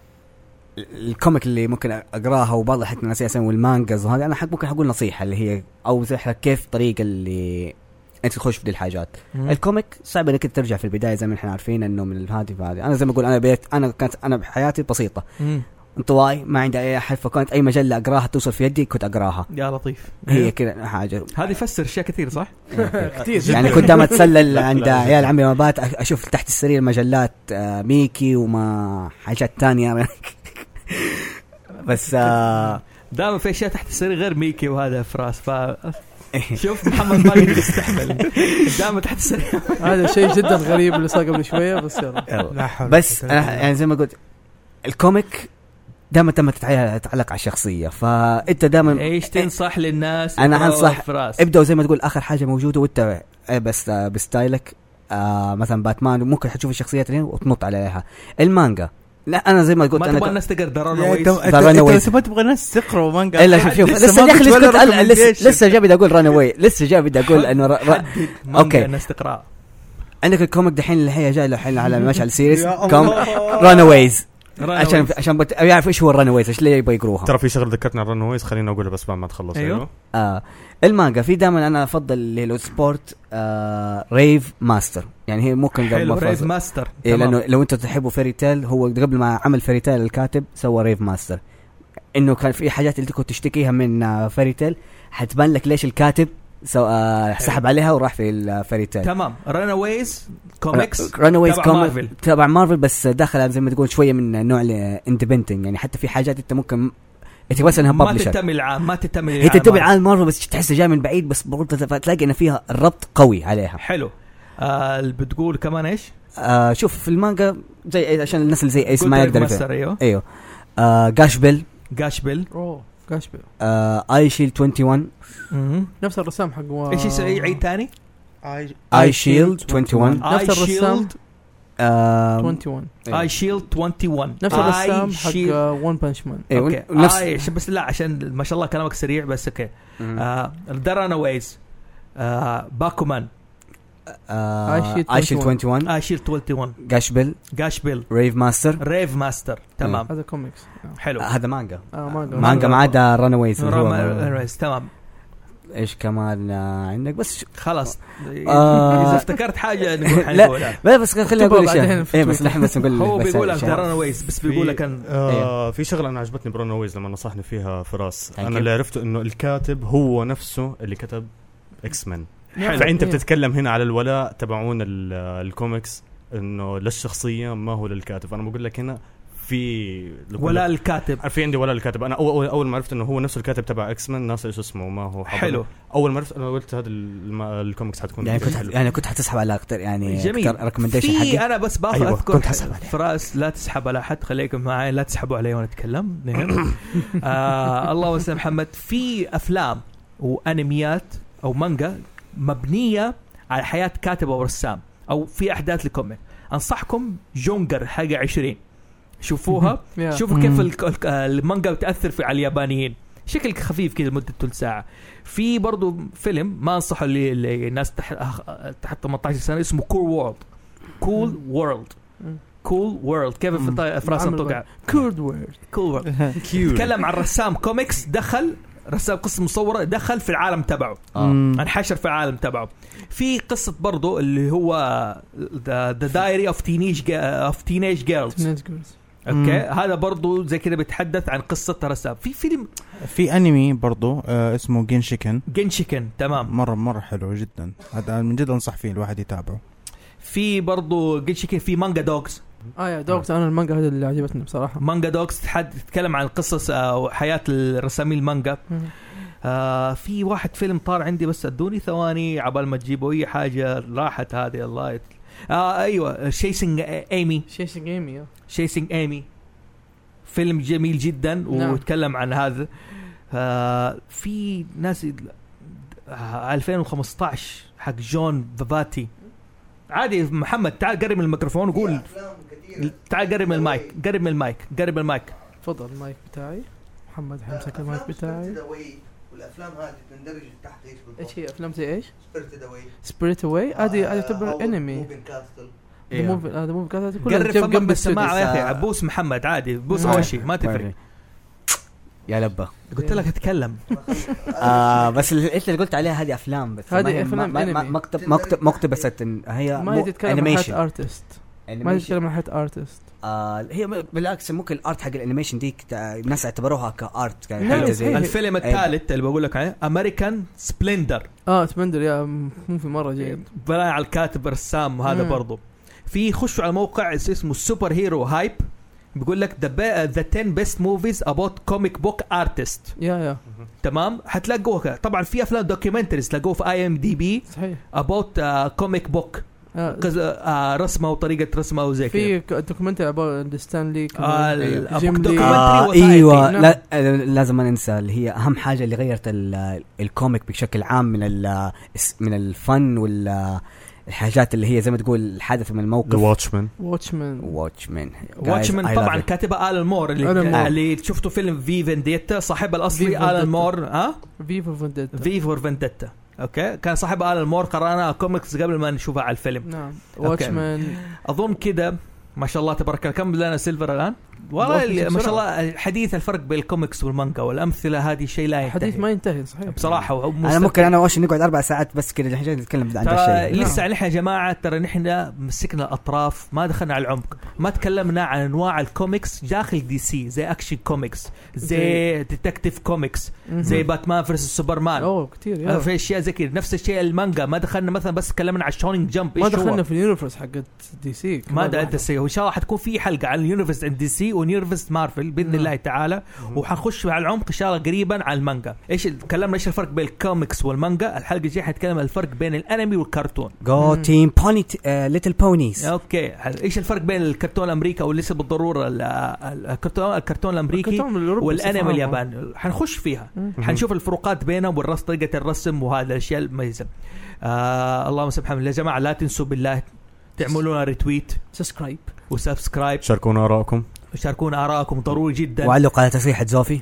S2: الكوميك اللي ممكن اقراها وبعض الحاجات ناسي اسامي والمانجز وهذا انا حق ممكن اقول نصيحه اللي هي او زي حق كيف طريقه اللي انت تخش في دي الحاجات
S5: إيه.
S2: الكوميك صعب انك أنت ترجع في البدايه زي ما احنا عارفين انه من هذه فهذه انا زي ما اقول انا بيت انا كانت انا بحياتي بسيطه
S1: مم.
S2: انت واي ما عندي اي احد فكانت اي مجله اقراها توصل في يدي كنت اقراها
S1: يا لطيف
S5: إيه.
S2: هي كذا حاجه
S1: هذه يفسر اشياء كثير صح؟
S5: كثير
S2: يعني كنت دائما اتسلل عند عيال عمي ما بات اشوف تحت السرير مجلات آه، ميكي وما حاجات تانية بس آه،
S1: دائما في اشياء تحت السرير غير ميكي وهذا فراس ف شوف محمد ما يقدر يستحمل دائما تحت السرير
S5: هذا شيء جدا غريب اللي صار قبل شويه بس يلا
S3: لا حول
S2: بس
S3: ولا قوة
S2: انا يعني زي ما قلت الكوميك دائما تم تتعلق على الشخصيه فانت دائما
S1: ايش تنصح للناس
S2: أنا
S1: يقرأوا
S2: أنصح
S1: فراس
S2: ابدأوا زي ما تقول اخر حاجه موجوده وانت آه، بس آه، بستايلك آه مثلا باتمان ممكن حتشوف الشخصيات اللي وتنط عليها المانجا لا انا زي ما قلت
S1: ما
S2: انا
S1: تبغى
S2: ك-
S1: الناس تقرا درانا
S3: يا
S1: ويس
S3: انت انت-
S2: ذا
S3: انت
S2: Runaways.
S3: بس ما تبغى ناس تقرا مانجا
S2: الا إيه، شوف شوف
S3: لسه
S2: لسه
S3: ما
S2: يا اخي
S3: جبت
S2: لسه
S3: ولا
S2: كنت أنا- لسه
S3: recommendation.
S2: لسه جاي بدي اقول ران اواي لسه جاي بدي اقول انه را را
S1: اوكي
S2: أوكي.
S1: الناس تقرا
S2: عندك الكوميك دحين اللي هي جاي له الحين على مشعل سيريس
S3: يا
S2: كوم
S3: الله.
S2: ران اوايز عشان
S1: عشان
S2: عشان بت... يعرف ايش هو الران اوايز ايش ليه يبغى يقروها
S4: ترى في شغله ذكرتنا عن رنويز خليني اقولها بس بعد ما تخلص
S1: أيوه.
S2: آه. المانجا في دائما انا افضل اللي هو سبورت آه ريف ماستر يعني هي ممكن قبل
S1: حلو
S2: ما
S1: ريز
S2: فاز-
S1: ماستر
S2: إيه
S1: تمام.
S2: لانه لو انتم تحبوا فيري تيل هو قبل ما عمل فيري تيل الكاتب سوى ريف ماستر انه كان في حاجات اللي كنت تشتكيها من آه، فيري تيل حتبان لك ليش الكاتب سو... آه سحب عليها وراح في آه، الفيري تيل
S1: تمام رانا ويز كوميكس
S2: رانويز
S1: تبع
S2: كوميك
S1: مارفل.
S2: تبع مارفل بس داخل زي ما تقول شويه من نوع الاندبنتنج يعني حتى في حاجات انت ممكن انت بس انها
S1: ما
S2: ببلشر
S1: تنتمي العام ما تنتمي
S2: هي تنتبه
S1: العام
S2: عالم مارفل بس تحس جاي من بعيد بس برضه تف- تلاقي ان فيها الربط قوي عليها
S1: حلو آه اللي بتقول كمان ايش؟
S2: آه شوف في المانجا زي عشان الناس اللي زي ايس
S1: قلت
S2: ما
S1: ريف
S2: يقدر يفهم.
S1: ماستر ايوه
S2: ايوه آه جاش بيل
S1: جاش بيل
S5: اوه gosh، بي-
S2: آه اي شيلد 21
S1: مهم.
S5: نفس الرسام حق و...
S1: ايش يسوي عيد ثاني؟
S3: آه.
S2: اي شيلد 21
S5: نفس
S1: آي
S5: الرسام.
S1: شيلد
S2: آه
S5: 21
S1: اي شيلد 21
S5: نفس
S1: آي
S5: الرسام
S1: شيلد.
S5: حق ون بانش مان
S2: ايوه
S1: اوكي
S2: نفس
S1: آه إيش- بس لا عشان ما شاء الله كلامك سريع بس اوكي
S2: مم.
S1: آه درانا ويز آه باكومان
S2: آه
S5: I Shield
S2: اي شيلد 21
S1: آه شيل 21
S2: جاش بيل
S1: جاش بيل
S2: ريف ماستر
S1: ريف ماستر تمام
S5: هذا كوميكس
S1: حلو
S2: آه، هذا مانجا
S5: آه مانجا
S2: مانجا ما عدا ران اويز
S1: راما ريز تمام
S2: ايش كمان آه، عندك بس شو-
S1: خلاص
S2: آه.
S1: اذا افتكرت حاجه نقول
S2: لا.
S1: حنقولها
S2: لا بس خليني
S5: اكتبها
S2: اقول
S5: بعدين
S2: شيء
S5: في
S2: ايه بس
S5: تويتر.
S2: نحن بس نقول
S1: هو
S2: بس يعني
S1: بيقول لك
S2: شيء.
S1: درانا ويز بس بيقول لك أن-
S4: آه في شغله انا عجبتني برونويز لما نصحني فيها فراس
S2: Thank
S4: انا
S2: you.
S4: اللي عرفته انه الكاتب هو نفسه اللي كتب اكس مان
S5: نعم.
S4: فانت
S5: إيه.
S4: بتتكلم هنا على الولاء تبعون ال- الكوميكس انه للشخصيه ما هو للكاتب انا بقول لك هنا في
S1: ولا الكاتب
S4: في عندي ولا الكاتب انا أول- اول اول ما عرفت انه هو نفس الكاتب تبع اكس مان ناصر ايش اسمه ما هو حاضر.
S1: حلو
S4: اول ما عرفت انا قلت هذا الم- الكوميكس حتكون
S2: يعني كنت
S4: حلو.
S2: يعني كنت حتسحب على اكثر يعني
S1: جميل.
S2: ريكومنديشن
S1: في
S2: حقي
S1: انا بس باخذ
S2: أيوة،
S1: اذكر
S2: كنت حسب عليه.
S1: فراس لا تسحب على احد خليكم معي لا تسحبوا علي وانا اتكلم نعم. آه الله يسلم محمد في افلام وانميات او مانجا مبنيه على حياه كاتب او رسام او في احداث لكوميك انصحكم جونجر حاجه 20 شوفوها
S5: يا.
S1: شوفوا كيف
S3: مم.
S1: ال- ال- المانجا بتاثر في على اليابانيين شكل خفيف كذا مده ثلث ساعه في برضو فيلم ما انصحه ل- للناس تح- أخ- تحت 18 سنه اسمه كول وورلد كول وورلد
S5: مم.
S1: كول وورلد كيف في
S3: مم.
S1: طي- في راسنا
S5: عمل
S1: توقع
S5: كولد وورد
S1: كول وورلد
S4: كيوت.
S1: تكلم عن رسام كوميكس دخل رسام قصه مصوره دخل في العالم تبعه انحشر في العالم تبعه في قصه برضو اللي هو ذا دايري اوف تينيج اوف تينيج جيرلز
S3: مم.
S1: اوكي هذا برضو زي كده بيتحدث عن قصه رسام في فيلم
S3: في انمي برضو آه اسمه جينشيكن
S1: جنشيكن تمام
S3: مره مره حلو جدا هذا من جد انصح فيه الواحد يتابعه
S1: في برضو جنشيكن في مانجا دوغز
S5: اه يا دوغت انا المانجا هذا اللي عجبتني بصراحه
S1: مانجا دوغز تحد- تتكلم عن قصص آه، وحياه الرسامين المانجا
S5: مم.
S1: آه في واحد فيلم طار عندي بس ادوني ثواني عبال ما تجيبوا اي حاجه راحت هذه الله يت... آه ايوه شيسنج ايمي
S5: شيش جيمي يا.
S1: شيسنج ايمي فيلم جميل جدا
S5: نعم.
S1: وتكلم عن هذا آه في ناس آه 2015 حق جون فافاتي عادي محمد تعال قرب من الميكروفون وقول تعال قرب من المايك قرب من المايك قرب من المايك
S5: تفضل المايك بتاعي محمد حيمسك المايك بتاعي
S6: والافلام هذه تندرج تحت ايش بالضبط؟ آه،
S5: ايش هي افلام زي ايش؟
S6: سبيرتد اواي
S5: سبيريت اواي هذه
S1: آه،
S5: هذه تعتبر انمي ذا
S2: إيوه.
S5: موفي ذا موفي آه، كانت كلها
S1: قرب
S5: جنب-
S1: فمك
S5: جنب نعم.
S1: بالسماعه
S5: السماعه
S1: يا اخي
S2: آه.
S1: عبوس محمد عادي بوس
S5: مم.
S1: اول شيء ما تفرق
S2: يا لبه
S5: طيب.
S1: قلت لك اتكلم
S2: آه بس اللي انت اللي قلت عليها هذه افلام بس ما
S5: هذه
S2: هي- ما-
S5: أفلام
S2: ما- ما-
S5: أنمي.
S2: مقتب مقتب مقتبسات إن- هي
S5: ما هي تتكلم عن حياه ارتست ما هي
S2: انيميشن
S5: تتكلم عن حياه ارتست
S2: آه هي م- بالعكس ممكن الارت حق الانيميشن دي كت- الناس اعتبروها كارت يعني
S5: نعم،
S2: حاجه زي
S5: صحيح.
S1: الفيلم الثالث اللي بقول لك عليه امريكان سبلندر
S5: اه سبندر يا مو في مره جيد
S1: يعني بناء على الكاتب الرسام هذا
S5: مم.
S1: برضو في خشوا على موقع اس- اسمه السوبر هيرو هايب بيقول لك ذا ذا 10 بيست موفيز اباوت كوميك بوك ارتست
S5: يا يا
S1: تمام حتلاقوها طبعا في افلام دوكيومنتريز تلاقوه في اي ام دي بي
S5: صحيح
S1: اباوت كوميك بوك
S5: آه،
S1: رسمه وطريقه رسمه وزي كذا
S5: في دوكيومنتري about ستان لي
S1: آه،
S5: كمان.
S1: ال-
S5: جيم لي.
S1: documentary
S2: آه
S1: وثائقي.
S2: ايوه
S5: نعم.
S2: لا آه، لازم ما ننسى اللي هي اهم حاجه اللي غيرت ال- الكوميك بشكل عام من ال- من الفن وال آه، الحاجات اللي هي زي ما تقول الحدث من
S4: ذا
S2: الموقف
S4: واتشمان
S5: واتشمان
S2: واتشمان
S1: واتشمان طبعا كاتبه الان مور اللي,
S5: آلان مور.
S1: اللي شفتوا فيلم في فنديتا صاحبها
S5: في
S1: الاصلي الان
S5: فنديتا.
S1: مور ها
S5: في فور فنديتا
S1: في فور فندتا اوكي كان صاحب الان مور قرانا كوميكس قبل ما نشوفها على الفيلم
S5: نعم
S1: أوكي.
S5: واتشمان
S1: اظن كذا ما شاء الله تبارك الله كم لنا سيلفر الان والله
S5: والله
S1: ال- ما شاء
S5: بسرعة.
S1: الله حديث الفرق بين الكوميكس والمانجا والامثله هذه شيء لا ينتهي
S5: حديث ما ينتهي صحيح
S1: بصراحه هو
S2: انا
S1: مستمتع.
S2: ممكن انا واش نقعد اربع ساعات بس كذا الحين نتكلم عن
S1: ترى
S2: الشيء
S1: طيب،
S5: نعم.
S1: لسه نحن يا جماعه ترى نحن مسكنا الاطراف ما دخلنا على العمق ما تكلمنا عن انواع الكوميكس داخل دي سي زي اكشن كوميكس زي ديتكتيف كوميكس
S5: مهم.
S1: زي باتمان فيرسس سوبرمان
S5: اوه كثير
S1: هذا
S5: يا
S1: آه. في اشياء زي كذا نفس الشيء المانجا ما دخلنا مثلا بس تكلمنا على الشونينج جمب
S5: ما
S1: إيش هو؟
S5: دخلنا في اليونيفرس حقت دي سي
S1: ما
S5: كمان
S1: ادري انت
S5: واحدة.
S1: سي وان شاء الله حتكون في حلقه عن اليونيفرس اند دي سي واليونيفرس مارفل باذن
S5: نعم.
S1: الله تعالى وحنخش على العمق ان شاء الله قريبا على المانجا ايش تكلمنا ايش الفرق بين الكوميكس والمانجا الحلقه الجايه حنتكلم عن الفرق بين الانمي والكرتون
S2: جو
S5: مم.
S2: تيم بوني ليتل بونيز
S1: اوكي ايش الفرق بين الكرتون الامريكي او ليس بالضروره ال- ال- الكرتون الكرتون الامريكي
S5: الكرتون الأوروبي
S1: والانمي
S5: استفهامه.
S1: الياباني حنخش فيها
S5: مم.
S1: حنشوف الفروقات بينهم والرسم طريقه الرسم وهذا الاشياء المميزه آه اللهم سبحانه يا جماعه لا تنسوا بالله تعملونا ريتويت
S5: سبسكرايب
S1: وسبسكرايب
S4: شاركونا ارائكم
S1: شاركونا ارائكم ضروري جدا
S2: وعلق على تصريحة زوفي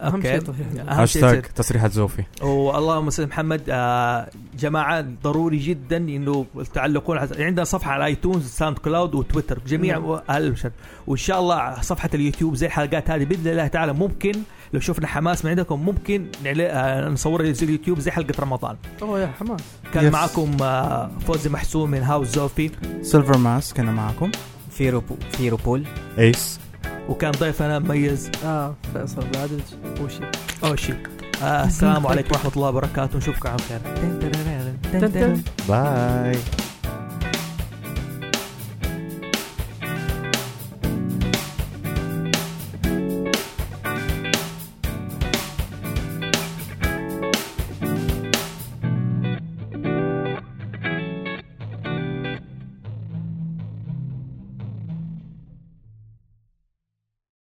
S5: اهم
S1: أوكي.
S5: شيء تضحية.
S1: أهم شيء
S4: هاشتاج
S1: يصير.
S4: تصريحات زوفي
S1: واللهم صل على محمد آه جماعه ضروري جدا انه تعلقون على- يعني عندنا صفحه على ايتونز ساوند كلاود وتويتر جميع
S5: نعم.
S1: اهل البشر وان شاء الله صفحه اليوتيوب زي الحلقات هذه باذن الله تعالى ممكن لو شفنا حماس من عندكم ممكن نعل- آه، نصورها زي اليوتيوب زي حلقه رمضان
S5: اوه يا حماس
S1: كان
S3: Yes.
S1: معاكم آه فوزي محسوم من هاوس زوفي
S3: سيلفر ماسك انا معكم
S2: فيرو فيرو بول
S4: ايس
S1: وكان ضيفنا مميز
S5: اه فيصل بعدد وشي
S1: اوشي آه السلام عليكم ورحمه الله وبركاته نشوفكم على خير
S7: تن- تن.
S3: باي